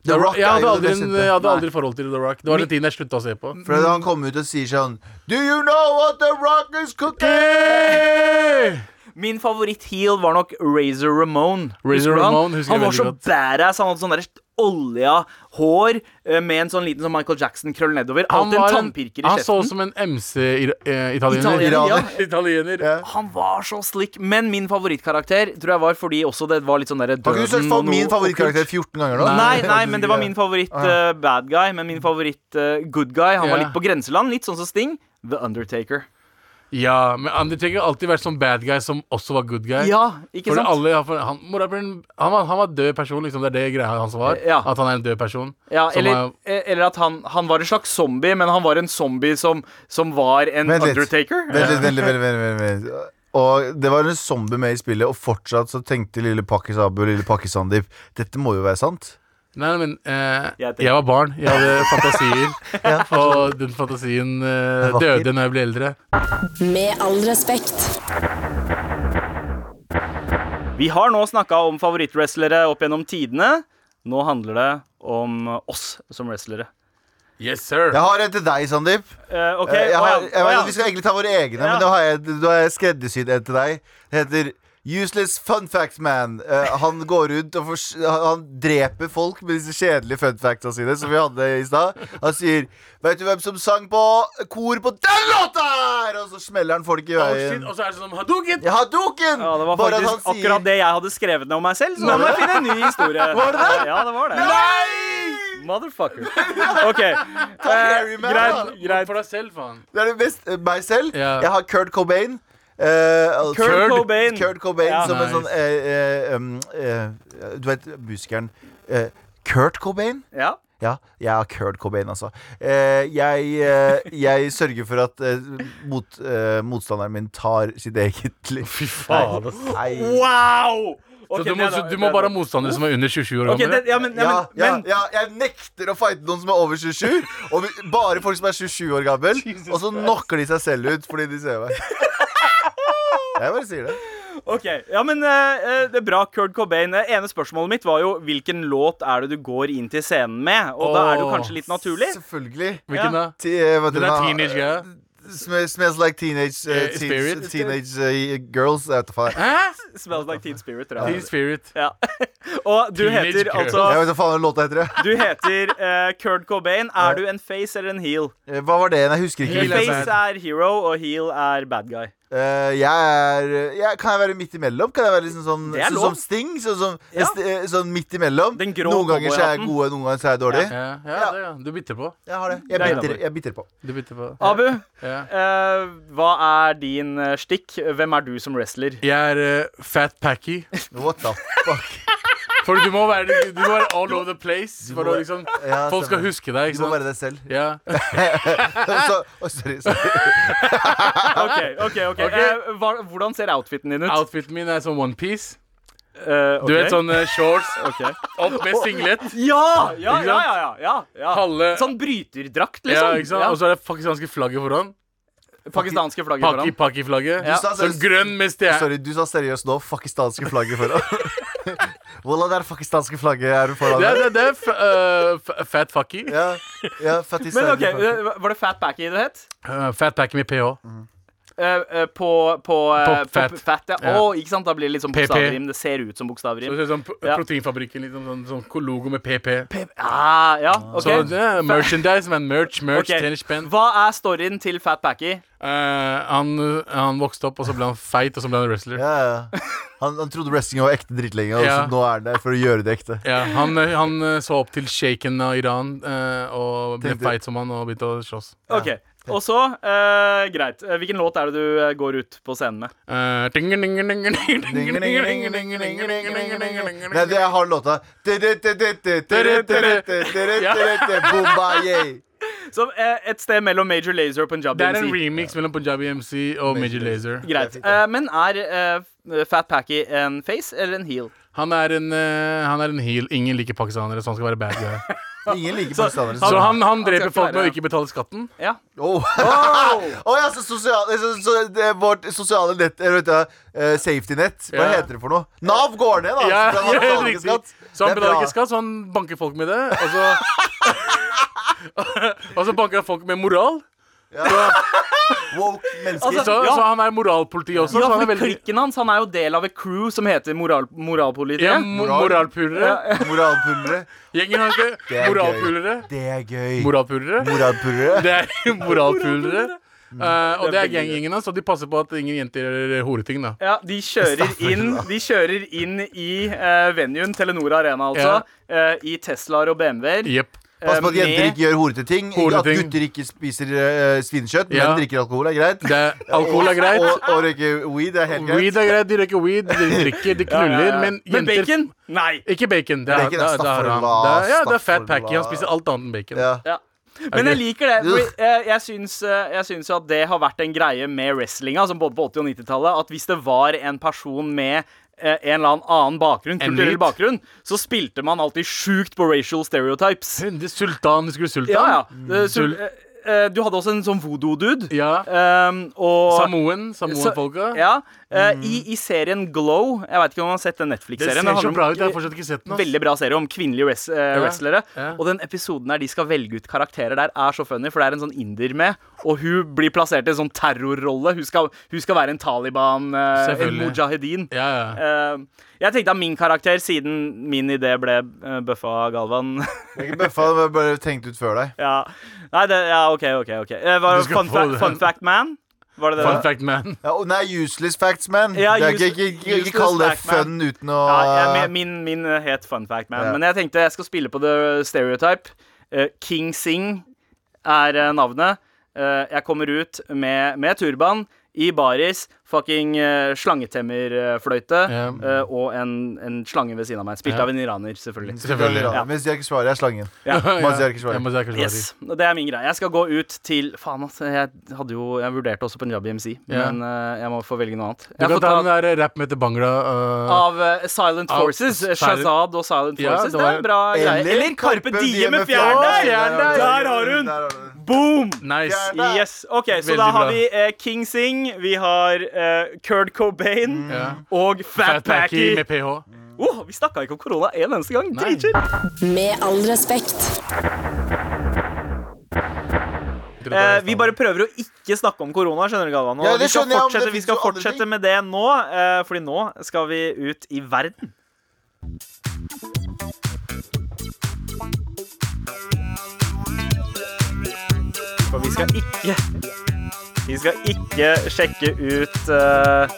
S2: The Rock
S4: jeg
S2: er
S4: hadde
S2: jo
S4: aldri,
S2: det
S4: en,
S2: beste.
S4: jeg hadde
S3: Nei.
S4: aldri forhold til The Rock. Det var den tiden jeg slutta å se
S3: eh,
S4: på.
S2: For da han kommer ut og sier sånn Do you know what The Rock is cooking?
S4: Hey!
S3: Min favoritt-heel var nok Razor Ramone.
S4: Razor
S3: Husker du han?
S4: Ramon husker jeg
S3: han var så
S4: veldig godt.
S3: badass. Han hadde sånn der olja hår eh, med en sånn liten sånn Michael Jackson-krøll nedover.
S4: Han,
S3: Alltid en
S4: var en-
S3: tannpirker i
S4: han så ut
S3: kjeften.
S4: som en MC-italiener.
S3: Italiener, ja.
S4: eh, Italiener.
S2: Ja.
S3: Han var så slick. Men min favorittkarakter tror jeg var fordi også det var litt sånn derre
S2: Har ikke du
S3: døden
S2: søkt
S3: og
S2: for
S3: noe
S2: min favorittkarakter
S3: okkult.
S2: 14 ganger nå?
S3: Nei, nei, men det var min favoritt
S2: Ah.
S3: eh, bad guy. Men min favoritt eh, good guy. Han var
S4: Ja.
S3: litt på grenseland. Litt sånn som Sting. The Undertaker.
S4: ja, men Undertaker har alltid vært sånn bad guy som også var good guy.
S3: Ja, ikke
S4: Fordi
S3: sant?
S4: alle har for, han, morapuleren, han, var, han var død person, liksom. Det er det greia hans var.
S3: Ja.
S4: At han er en død person.
S3: Ja,
S4: som
S3: eller,
S4: er-
S3: eh, eller at han, han var en slags zombie, men han var en zombie som, som var en
S2: Vent litt.
S3: Undertaker.
S2: Vent litt, vent litt, vent litt, vent litt, vent litt. Og det var en zombie med i spillet, og fortsatt så tenkte lille Pakkis Abu og lille Pakkis Sandeep Dette må jo være sant.
S4: Nei, nei, men eh,
S3: Jeg tenker-
S4: jeg var barn. Jeg hadde fantasier. Og den fantasien eh,
S2: Vakker.
S4: døde når jeg ble eldre.
S5: Med all respekt.
S3: Vi har nå snakka om favorittwrestlere opp gjennom tidene. Nå handler det om oss som wrestlere.
S4: Yes, sir.
S2: Jeg har en til deg, Sandeep.
S3: Eh, ok,
S2: Eh, Jeg har,
S3: å ja,
S2: jeg, vet
S3: å
S2: at vi skal egentlig ta våre egne, men da har jeg, da har jeg skreddersydd en til deg. Det heter Useless fun facts man. Eh, han går rundt og fors han han dreper folk med disse kjedelige fun factsa sine, som vi hadde i stad. Han sier 'Veit du hvem som sang på kor på den låta her?' Og så smeller han folk i
S4: Oh, shit,
S2: veien.
S4: og så er det sånn Hadouken!
S2: Jeg har duken!
S3: ja, det var
S2: Bare at han
S3: faktisk akkurat det jeg hadde skrevet ned om meg selv, så nå må jeg finne en ny historie. Var det det? Ja, det var det.
S2: Nei!
S3: Motherfucker. OK.
S2: Ta Harry Man,
S3: Eh, greit.
S2: da.
S4: Greit for deg selv, faen.
S2: Det er det best eh, meg selv.
S4: Ja.
S2: Jeg har Kurt Cobain. Eh, altså-
S3: Kurt Kurt. Cobain.
S2: Kurt Cobain
S3: Ja.
S2: som en
S4: Nice.
S2: sånn eh, eh, um, eh, Du vet musikeren eh, Kurt Cobain?
S3: Ja.
S2: Ja, jeg har Kurt Cobain, altså. Eh, jeg, eh, jeg sørger for at eh, mot, eh, motstanderen min tar sitt eget liv. Fy
S4: faen, ass.
S2: Nei.
S3: Wow!
S4: Så
S3: Ok,
S4: du, må,
S3: det er
S4: så
S3: da-
S4: du må
S3: det er
S4: bare
S3: da-
S4: ha motstandere som er under 27 år
S3: Ok,
S4: gamle.
S3: det, ja, men, ja,
S2: Ja,
S3: men,
S2: ja,
S3: men
S2: ja, jeg nekter å fighte noen som er over 27. Og vi- bare folk som er 27 år gammel. Og så knocker de seg selv ut fordi de ser meg. Jeg bare sier det.
S3: Ok, ja, men eh, eh, det er bra, Kurt Cobain. Det ene spørsmålet mitt var jo hvilken låt er det du går inn til scenen med? Og da er det jo
S4: Åh,
S3: kanskje litt naturlig.
S2: Selvfølgelig.
S4: Hvilken da?
S2: Ti, eh, hva heter
S4: Den er
S2: da?
S4: teenage greia.
S2: Sm- Smells like teenage eh,
S4: Eh,
S2: teens,
S4: spirit?
S2: Teenage eh, girls. Jeg vet da faen.
S4: Hæ?
S3: Smells like Teen Spirit, tror
S4: Teen
S3: jeg.
S4: Spirit.
S3: Ja. Og du
S4: Teenage
S3: heter
S4: Girl.
S3: altså
S2: Jeg vet da faen hva låta heter. jeg.
S3: Du heter eh, Kurt Cobain. Er du en face eller en heel?
S2: Eh, Hva var det igjen? Jeg husker ikke.
S4: Heel
S2: hvilken-
S4: er
S3: Face er hero, og heel er bad guy.
S2: Eh, jeg er jeg, Kan jeg være midt imellom? Kan jeg være liksom sånn,
S3: Det er
S2: sånn
S3: lov.
S2: som Sting? Sånn, som,
S3: Ja.
S2: st- eh, sånn midt imellom?
S3: Den grå
S2: Noen ganger så er jeg
S3: cowboyhatten.
S2: gode, noen ganger så er jeg dårlig.
S4: Ja, ja, det, ja. Du bytter på.
S2: Jeg har det. Jeg
S3: Det er
S2: biter,
S3: innenfor.
S2: jeg biter på.
S4: Du bytter på.
S3: Abu,
S4: Ja.
S3: eh, hva er din eh, stikk? Hvem er du som wrestler?
S4: Jeg er eh, Fat Packy.
S2: What the fuck?
S4: For du må være, du må være all over the place. For
S2: må-
S4: å liksom,
S2: Ja,
S4: folk skal
S2: stemmer.
S4: huske deg,
S2: Du
S4: ikke
S2: må
S4: sant?
S2: være deg selv.
S4: Ja.
S2: så, å, sorry, sorry.
S3: OK, OK. ok,
S4: Ok.
S3: Eh, hva, Hvordan ser outfiten din ut?
S4: Outfiten min er sånn onepiece.
S3: Eh,
S4: Du
S3: ok.
S4: vet sånn eh, shorts
S3: Ok.
S4: opp med singlet.
S3: Ja! Ja,
S4: Ikke
S3: ja,
S4: sant?
S3: ja. ja, ja, ja.
S4: Halve
S3: Sånn bryterdrakt,
S4: ja,
S3: liksom.
S4: ikke sant? Og så er det pakistanske flagget foran.
S3: Pakistanske flagget foran.
S4: Paki-paki-flagget.
S2: Du sa
S4: Sånn
S2: seriøst-
S4: grønn med stjerne.
S2: Sorry, du sa seriøst nå pakistanske flagget foran. Wallah, det er pakistanske flagget her foran
S4: Det er,
S2: deg.
S4: det er, det er f- øh, f- fat fucky.
S2: Ja, ja, fattig
S3: Men ok,
S2: Saudi-flagget.
S3: eh, Var det Fat Packy det het?
S4: Øh, fat packy med ph.
S3: Eh, eh, på på, eh,
S4: På fat.
S3: på fat ja.
S4: Ja.
S3: Å, ikke sant? Da blir det litt sånn
S4: PP.
S3: bokstavrim. Det ser ut som
S4: Så
S3: bokstavrim.
S4: det er sånn pro-
S3: Ja.
S4: Proteinfabrikken, liksom. Sånn, sånn logo med pp.
S3: Ah, ja, ok
S4: Så det er merchandise, men merch, merch,
S3: Ok.
S4: tennispenn.
S3: Hva er storyen til Fat Packy?
S4: Eh, han, han vokste opp, og så ble han feit, og så ble han wrestler.
S2: Ja, ja. Han, han trodde wrestling var ekte dritlenge, og
S4: Ja.
S2: så nå er han der for å gjøre det ekte.
S4: Ja, han, eh, han eh, så opp til shaken av Iran eh, og ble
S2: Tenkte-
S4: feit som han og begynte å slåss.
S3: Ok, Og så, eh, greit. Eh, Hvilken låt er det du eh, går ut på scenen med?
S4: Eh,
S2: Nei, det jeg har låta Bomba, yay.
S3: Så, eh, et sted mellom Major Lazer og Punjabi
S4: Det er en
S3: MC.
S4: remix mellom Punjabi MC og Major Lazer.
S3: Greit.
S2: Det er fint, ja.
S3: Eh, men er eh, Fat Packy en face eller en heel?
S4: Han er en, eh, han er en heel. Ingen liker pakistanere, så han skal være bad guy.
S2: Ingen liker pakistanere.
S4: Så han, han
S3: skal
S4: dreper
S3: ikke
S4: folk med
S3: være-
S4: å ikke betale skatten.
S3: Ja.
S2: Oh. Å ja, så sosial, så, så, det, vårt sosiale nett Eller vet du, eh, safety net. Hva
S4: Ja.
S2: heter det for noe? Nav går ned, da.
S4: Ja,
S2: så han
S4: helt
S2: betaler ikke
S4: riktig.
S2: skatt.
S4: Så han
S2: Det er
S4: betaler ikke
S2: bra.
S4: skatt, så han banker folk med det. Og så, og så banker han folk med moral.
S2: Woke mennesker.
S4: Altså, Så,
S3: ja.
S4: så han er moralpoliti også.
S3: Ja,
S4: så han
S3: for
S4: er veldig
S3: Klikken hans han er jo del av et crew som heter moral, Moralpolitiet.
S4: ja, mo- moralpulere.
S2: Moralpulere.
S4: Gjengen har
S2: Det
S4: ikke
S2: er
S4: moralpulere.
S2: gøy. Det er gøy.
S4: Moralpulere.
S2: Moralpulere.
S4: Det er moralpulere. Eh, og
S3: Det
S4: det
S3: er
S4: er ganggjengen hans, og de passer på at ingen jenter gjør horeting, da.
S3: Ja, de kjører inn, de kjører inn i uh, venuen, Telenor Arena altså, eh, i Teslaer og BMW-er.
S4: Jepp.
S2: Pass på at
S3: Eh,
S2: jenter
S3: med-
S2: ikke gjør horete ting. At
S4: Horeting.
S2: gutter ikke spiser eh, svinekjøtt,
S4: Ja.
S2: men drikker alkohol er greit.
S4: Det er- Alkohol er greit.
S2: Og, og røyke weed er helt greit.
S4: Weed er greit, de røyker weed, de drikker, de
S3: Ja, ja,
S4: knuller,
S3: ja.
S4: men
S3: Men
S4: jenter
S3: bacon? Nei.
S4: Ikke bacon. Det er,
S2: Bacon er
S4: det er, det er,
S2: staffordla,
S4: det er, ja, det er fat
S2: staffordla.
S4: packy. Han spiser alt annet enn bacon.
S2: Ja.
S3: Ja. Men jeg liker det.
S2: Ugh.
S3: For jeg, jeg, syns, eh, jeg syns jo at det har vært en greie med wrestlinga, altså både på 80- og 90-tallet, at hvis det var en person med eh, en eller annen annen bakgrunn,
S4: En
S3: kulturell
S4: hvit.
S3: bakgrunn, så spilte man alltid sjukt på racial stereotypes.
S4: Hundre- Sultan, husker du Sultan?
S3: Ja, ja. Eh, Så,
S4: Sul-
S3: eh, eh, du hadde også en sånn voodoo-dude.
S4: Mm. Ja.
S3: Um, og
S4: Samoen, Samoen-folka.
S3: Ja. eh, i, I serien Glow Jeg vet ikke om man har sett den
S4: Mm. Det
S3: Netflix-serien.
S4: ser
S3: Den handler
S4: så
S3: om-
S4: bra ut. Jeg har fortsatt ikke sett den. ass.
S3: Veldig bra serie om kvinnelige wres eh, wrestlere.
S4: ja.
S3: Og den episoden der de skal velge ut karakterer der, er så funny, for det er en sånn inder med, og hun blir plassert i en sånn terrorrolle. Hun skal, hun skal være en Taliban, eh, en
S4: Selvfølgelig.
S3: mujahedin.
S4: Ja, ja.
S3: Eh, jeg tenkte at min karakter, siden min idé ble eh, bøffa av Galvan
S2: Det er ikke bøffa, det var bare tenkt ut før deg.
S3: Ja, Nei, det, ja OK, OK. ok Eh, var
S4: Du
S3: det
S4: skal
S3: fun,
S4: få
S3: fa
S4: den.
S3: fun fact man? Var det det?
S4: Fun fact, man.
S2: Ja, og nei, useless facts, man.
S3: Ja,
S2: det er ikke,
S3: use-
S2: ikke, ikke,
S3: useless
S2: ikke kall det
S3: fact, man.
S2: fun uten å
S3: Ja, jeg, min, min eh, het fun fact man.
S2: Ja.
S3: Men jeg tenkte jeg skal spille på the stereotype. Eh, King Sing er eh, navnet. Eh, jeg kommer ut med, med turban i baris, fucking eh, slangetemmerfløyte
S4: Ja.
S3: eh, og en, en slange ved siden av meg. Spilt
S4: Ja.
S3: av en iraner, selvfølgelig.
S4: Selvfølgelig.
S2: Ja. Men jeg ikke svarer, jeg er slangen. Mazar Keshvari.
S4: Ja, Mazar Keshvari.
S3: Yes, Det er min greie. Jeg skal gå ut til Faen, ass. Jeg, hadde jo, jeg vurderte også Punjabi MC,
S4: Ja.
S3: men eh, jeg må få velge noe annet.
S4: Du
S3: Jeg
S4: kan
S3: får
S4: ta
S3: ta
S4: den der rapp med til Bangla. øh,
S3: Av eh, Silent
S4: Av
S3: Forces. eh,
S4: Silent-
S3: Shazad og Silent
S4: Ja,
S3: Forces.
S4: det
S3: det,
S4: var-
S3: er en bra greie. Eller Carpe Diem med fjern
S4: fjern
S3: der!
S4: der.
S3: Der har hun! Boom!
S4: nice.
S2: Fjern- Der.
S3: Yes, ok, Så
S4: Veldig
S3: da har
S4: bra.
S3: vi eh, King Sing, vi har eh, Kurt Cobain
S4: Ja.
S3: og Fat,
S4: Fat
S3: Packy.
S4: packy med ph.
S3: Oh, vi snakka ikke om korona en eneste gang.
S4: Nei.
S3: Dritchill.
S5: Med all respekt.
S3: Eh, vi bare prøver å ikke snakke om korona, skjønner du, Galvan. Og
S2: Ja, det
S3: vi skal
S2: skjønner jeg, men det
S3: fortsette, vi
S2: finnes
S3: skal
S2: jo andre
S3: fortsette
S2: ting.
S3: med det nå, eh, Fordi nå skal vi ut i verden. For vi skal ikke Vi skal ikke sjekke ut eh,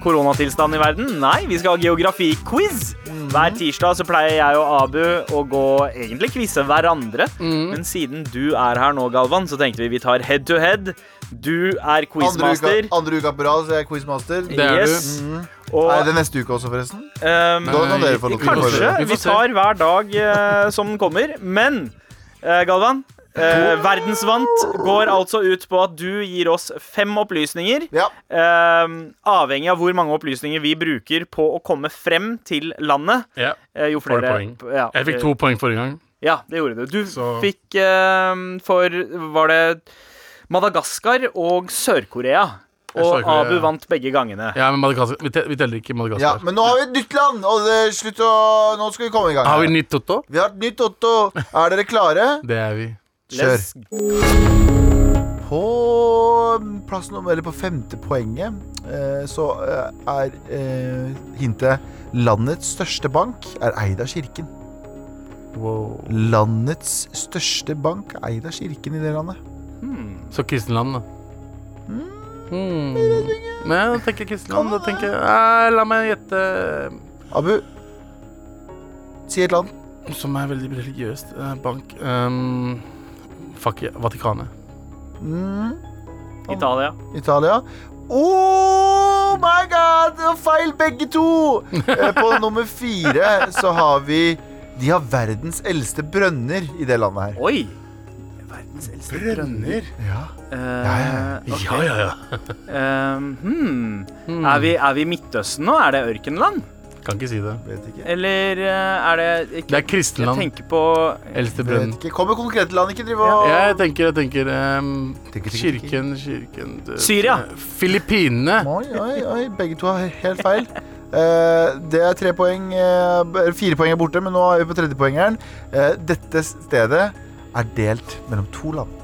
S3: koronatilstanden i verden. Nei, vi skal ha geografiquiz. Hver tirsdag så pleier jeg og Abu å gå egentlig quize hverandre. Men siden du er her nå, Galvan, så tenkte vi vi tar head to head. Du
S2: Andre
S3: er
S2: uka,
S3: quizmaster.
S2: andre uka på rad, så jeg er quizmaster.
S4: Det er du.
S3: Yes. Og
S2: Er det neste uke også, forresten?
S3: ehm,
S2: Da kan dere få lov til å
S4: Vi får
S3: kanskje
S4: se.
S2: forberede.
S4: Vi får
S3: vi
S4: se.
S3: tar hver dag eh, som den kommer. Men eh, Galvan, Eh, verdensvant går altså ut på at du gir oss fem opplysninger.
S2: Ja.
S3: Eh, avhengig av hvor mange opplysninger vi bruker på å komme frem til landet.
S4: Ja.
S3: Eh, jo
S4: Får
S3: flere
S4: jeg poeng?
S3: p- Ja,
S4: Jeg fikk to poeng forrige gang.
S3: Ja, det gjorde du. Du
S4: Så-
S3: fikk eh, for Var det Madagaskar og Sør-Korea? Og
S4: Sør-Korea,
S3: Abu
S4: ja.
S3: vant begge gangene.
S4: Ja, men Madagaskar Vi, te vi teller
S2: ja,
S4: ikke Madagaskar.
S2: Men nå har vi et nytt land, og det, slutt å Nå skal vi komme i gang.
S4: Har vi
S2: her.
S4: nytt Totto?
S2: vi har et nytt Otto. Er dere klare?
S4: Det er vi.
S2: Kjør.
S3: Let's-
S2: På plass nummer, eller på femte poenget eh, så eh, er eh, hintet Landets største bank er eid av kirken.
S4: Wow.
S2: Landets største bank er eid av kirken i det landet.
S4: Så kristenland, da. Hmm. Nei, da tenker jeg kristenland. Da tenker jeg Nei, La meg gjette
S2: Abu, si et land.
S4: Som er veldig religiøst. eh, Bank um, Fuck yeah, Vatikanet.
S2: Mm,
S3: Italia.
S2: Italia. Oh my god, det var feil begge to! Eh, på nummer fire så har vi De har verdens eldste brønner i det landet her.
S3: Oi! Verdens eldste
S4: Brønner?
S2: Ja.
S3: Eh,
S2: ja,
S3: ok.
S4: Ja, ja, ja.
S3: Eh, hmm. Er, vi,
S4: Mm.
S3: er vi i Midtøsten nå? Er det ørkenland?
S4: Kan ikke si det.
S2: Vet ikke.
S3: Eller eh, er det ikke,
S4: Det er
S3: Jeg
S4: kristenland.
S3: tenker på
S4: Eldste
S2: Vet
S4: brønn.
S2: ikke. Kom med konkrete land, ikke driv og
S4: Jeg tenker, jeg tenker ehm,
S2: Tenker, tenker,
S4: Kirken, kirken det-
S3: Syria.
S4: Filippinene.
S2: Oi, oi, oi, begge to har helt feil. Eh, det er tre poeng eh, b- Fire poeng er borte, men nå er vi på tredjepoengeren. Uh, dette stedet er delt mellom to land.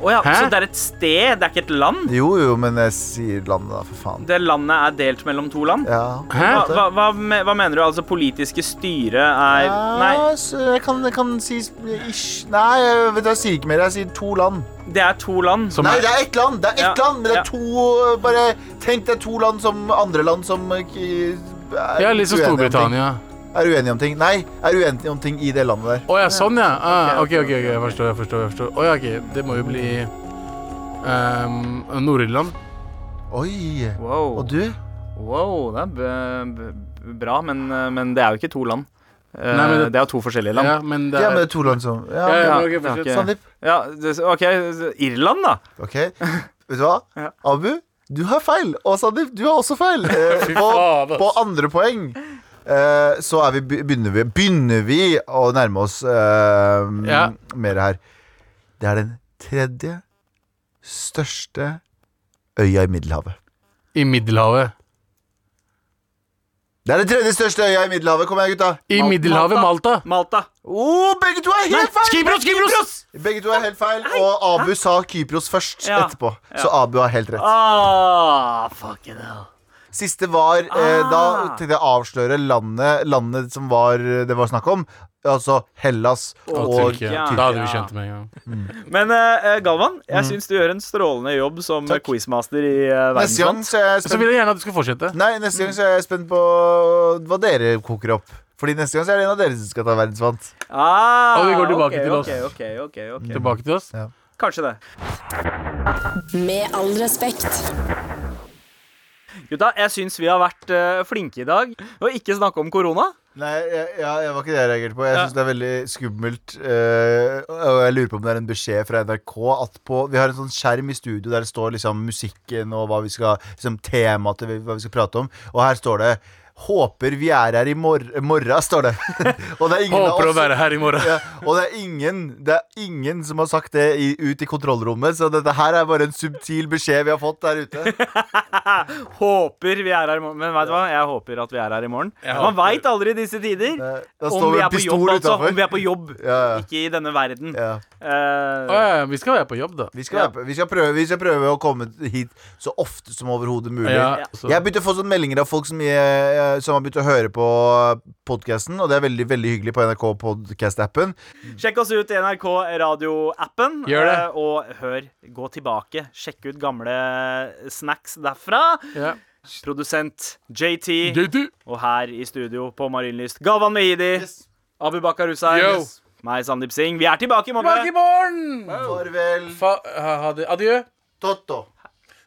S3: Å ja,
S4: Hæ?
S3: så det er et sted, det er ikke et land?
S2: Jo, jo, men jeg sier landet, da, for faen.
S3: Det landet er delt mellom to land?
S2: Ja.
S3: Hva,
S4: Hæ?
S3: hva, hva, me- hva mener du? Altså politiske styre er Nei,
S2: Ja, så jeg kan, jeg kan si s- ish. Nei, jeg, vet du, jeg sier ikke mer. Jeg sier to land.
S3: det er to land.
S4: Som
S2: Nei,
S4: er
S2: det er ett land! Det er ett
S3: Ja,
S2: land, men det
S3: ja.
S2: er to Bare tenk deg to land som andre land som eh, er,
S4: Ja, litt som
S2: uenige om ting.
S4: Storbritannia.
S2: er uenige om ting. Nei, er uenige om ting i det landet der.
S4: Å ja, sånn ja. Ah, ok, ok, ok, jeg forstår. jeg forstår, jeg forstår. Å ja, ok, Det må jo bli um, Nord-Irland.
S2: Oi.
S3: Wow.
S2: Og du?
S3: wow, det er b b bra, men, men det er jo ikke to land. Eh,
S4: Nei, men
S3: det...
S4: det-
S3: er jo to forskjellige land.
S4: Ja, men det
S2: Ja, men det
S4: er
S2: er to land som ja,
S4: Ja, ja,
S3: Ja,
S4: men ok,
S3: det er
S4: fortsett.
S3: ikke-
S2: Sandeep.
S3: Ja, det, OK, Irland, da.
S2: Ok, vet du hva?
S3: Ja.
S2: Abu, du har feil. Og Sandeep, du har også feil. Eh, på,
S4: faen, ass.
S2: på andre poeng eh, så er vi, be- begynner, vi, begynner vi å nærme oss eh,
S4: Ja.
S2: mer her. Det er den tredje største øya i Middelhavet.
S4: I Middelhavet.
S2: Det er den tredje største øya i Middelhavet. Kom igjen, gutta.
S4: I Middelhavet, Malta.
S3: Malta.
S2: Oh, begge to er helt feil!
S4: Kypros, Kypros!
S2: Begge to er helt feil Og Abu sa Kypros først
S3: Ja.
S2: etterpå. Så Abu har helt rett.
S3: Ah, fucking hell.
S2: Siste var eh, Da
S3: Ah.
S2: tenkte jeg å avsløre landet, landet som var, eh, det var snakk om. Altså Hellas og,
S4: Og Tyrkia.
S3: Tyrkia.
S4: Da hadde vi skjønt det med en gang.
S3: Men eh, Galvan, jeg
S4: Mm.
S3: syns du gjør en strålende jobb som
S2: Takk.
S3: quizmaster i uh,
S2: Neste gang
S3: Verdensland.
S2: så er jeg
S4: Så vil
S2: spent,
S4: jeg gjerne at du skal fortsette.
S2: nei, neste gang så er jeg spent på hva dere koker opp. Fordi neste gang så er det en av dere som skal ta verdensvant.
S3: Ah,
S4: Og vi går tilbake
S3: ok,
S4: til oss.
S3: ok, ok, ok, ok.
S4: Tilbake til oss.
S3: Kanskje det.
S5: Med all respekt.
S3: Gutta, jeg syns vi har vært eh, flinke i dag. Og ikke snakke om korona.
S2: Nei, jeg, ja, jeg var ikke det jeg reagerte på. Jeg
S3: Ja.
S2: syns det er veldig skummelt. eh, og jeg lurer på om det er en beskjed fra NRK at på Vi har en sånn skjerm i studio der det står liksom musikken og hva vi skal liksom temaet til hva vi skal prate om, og her står det 'Håper vi er her i mor morra', står det. og det er ingen
S4: Håper
S2: av
S4: å
S2: oss
S4: være her i morgen.
S2: ja, og det er, ingen, det er ingen som har sagt det i, ut i kontrollrommet, så dette her er bare en subtil beskjed vi har fått der ute.
S3: Håper vi er her i morgen. Men vet du hva? Jeg håper at vi er her i morgen. Man veit aldri i disse tider.
S2: Eh, Da
S3: Om
S2: står
S3: vi
S2: vi en
S3: er på
S2: pistol
S3: jobb, altså. Om vi
S2: utafor.
S3: er på jobb.
S2: Ja, ja.
S3: Ikke i denne verden.
S2: Ja.
S3: Eh,
S4: Å ja, vi skal være på jobb, da.
S2: Vi skal, være på- vi, skal prøve, vi skal prøve å komme hit så ofte som overhodet mulig.
S4: Ja, altså. så.
S2: Jeg har begynt å få sånne meldinger av folk som, eh, som har begynt å høre på podkasten, og det er veldig veldig hyggelig på NRK Podcast-appen.
S3: Sjekk oss ut i NRK radioappen.
S4: Gjør det.
S3: eh, Og hør, gå tilbake. Sjekk ut gamle snacks derfra.
S4: Ja.
S3: Produsent JT.
S4: JT.
S3: Og her i studio på Marienlyst, Galvan Mehidi, Abu Bakar Hussein,
S4: Yo.
S3: meg, Sandeep Singh. Vi er tilbake i morgen.
S4: Tilbake i morgen!
S2: Farvel,
S4: Fa ha, ha det. Adjø.
S2: Totto.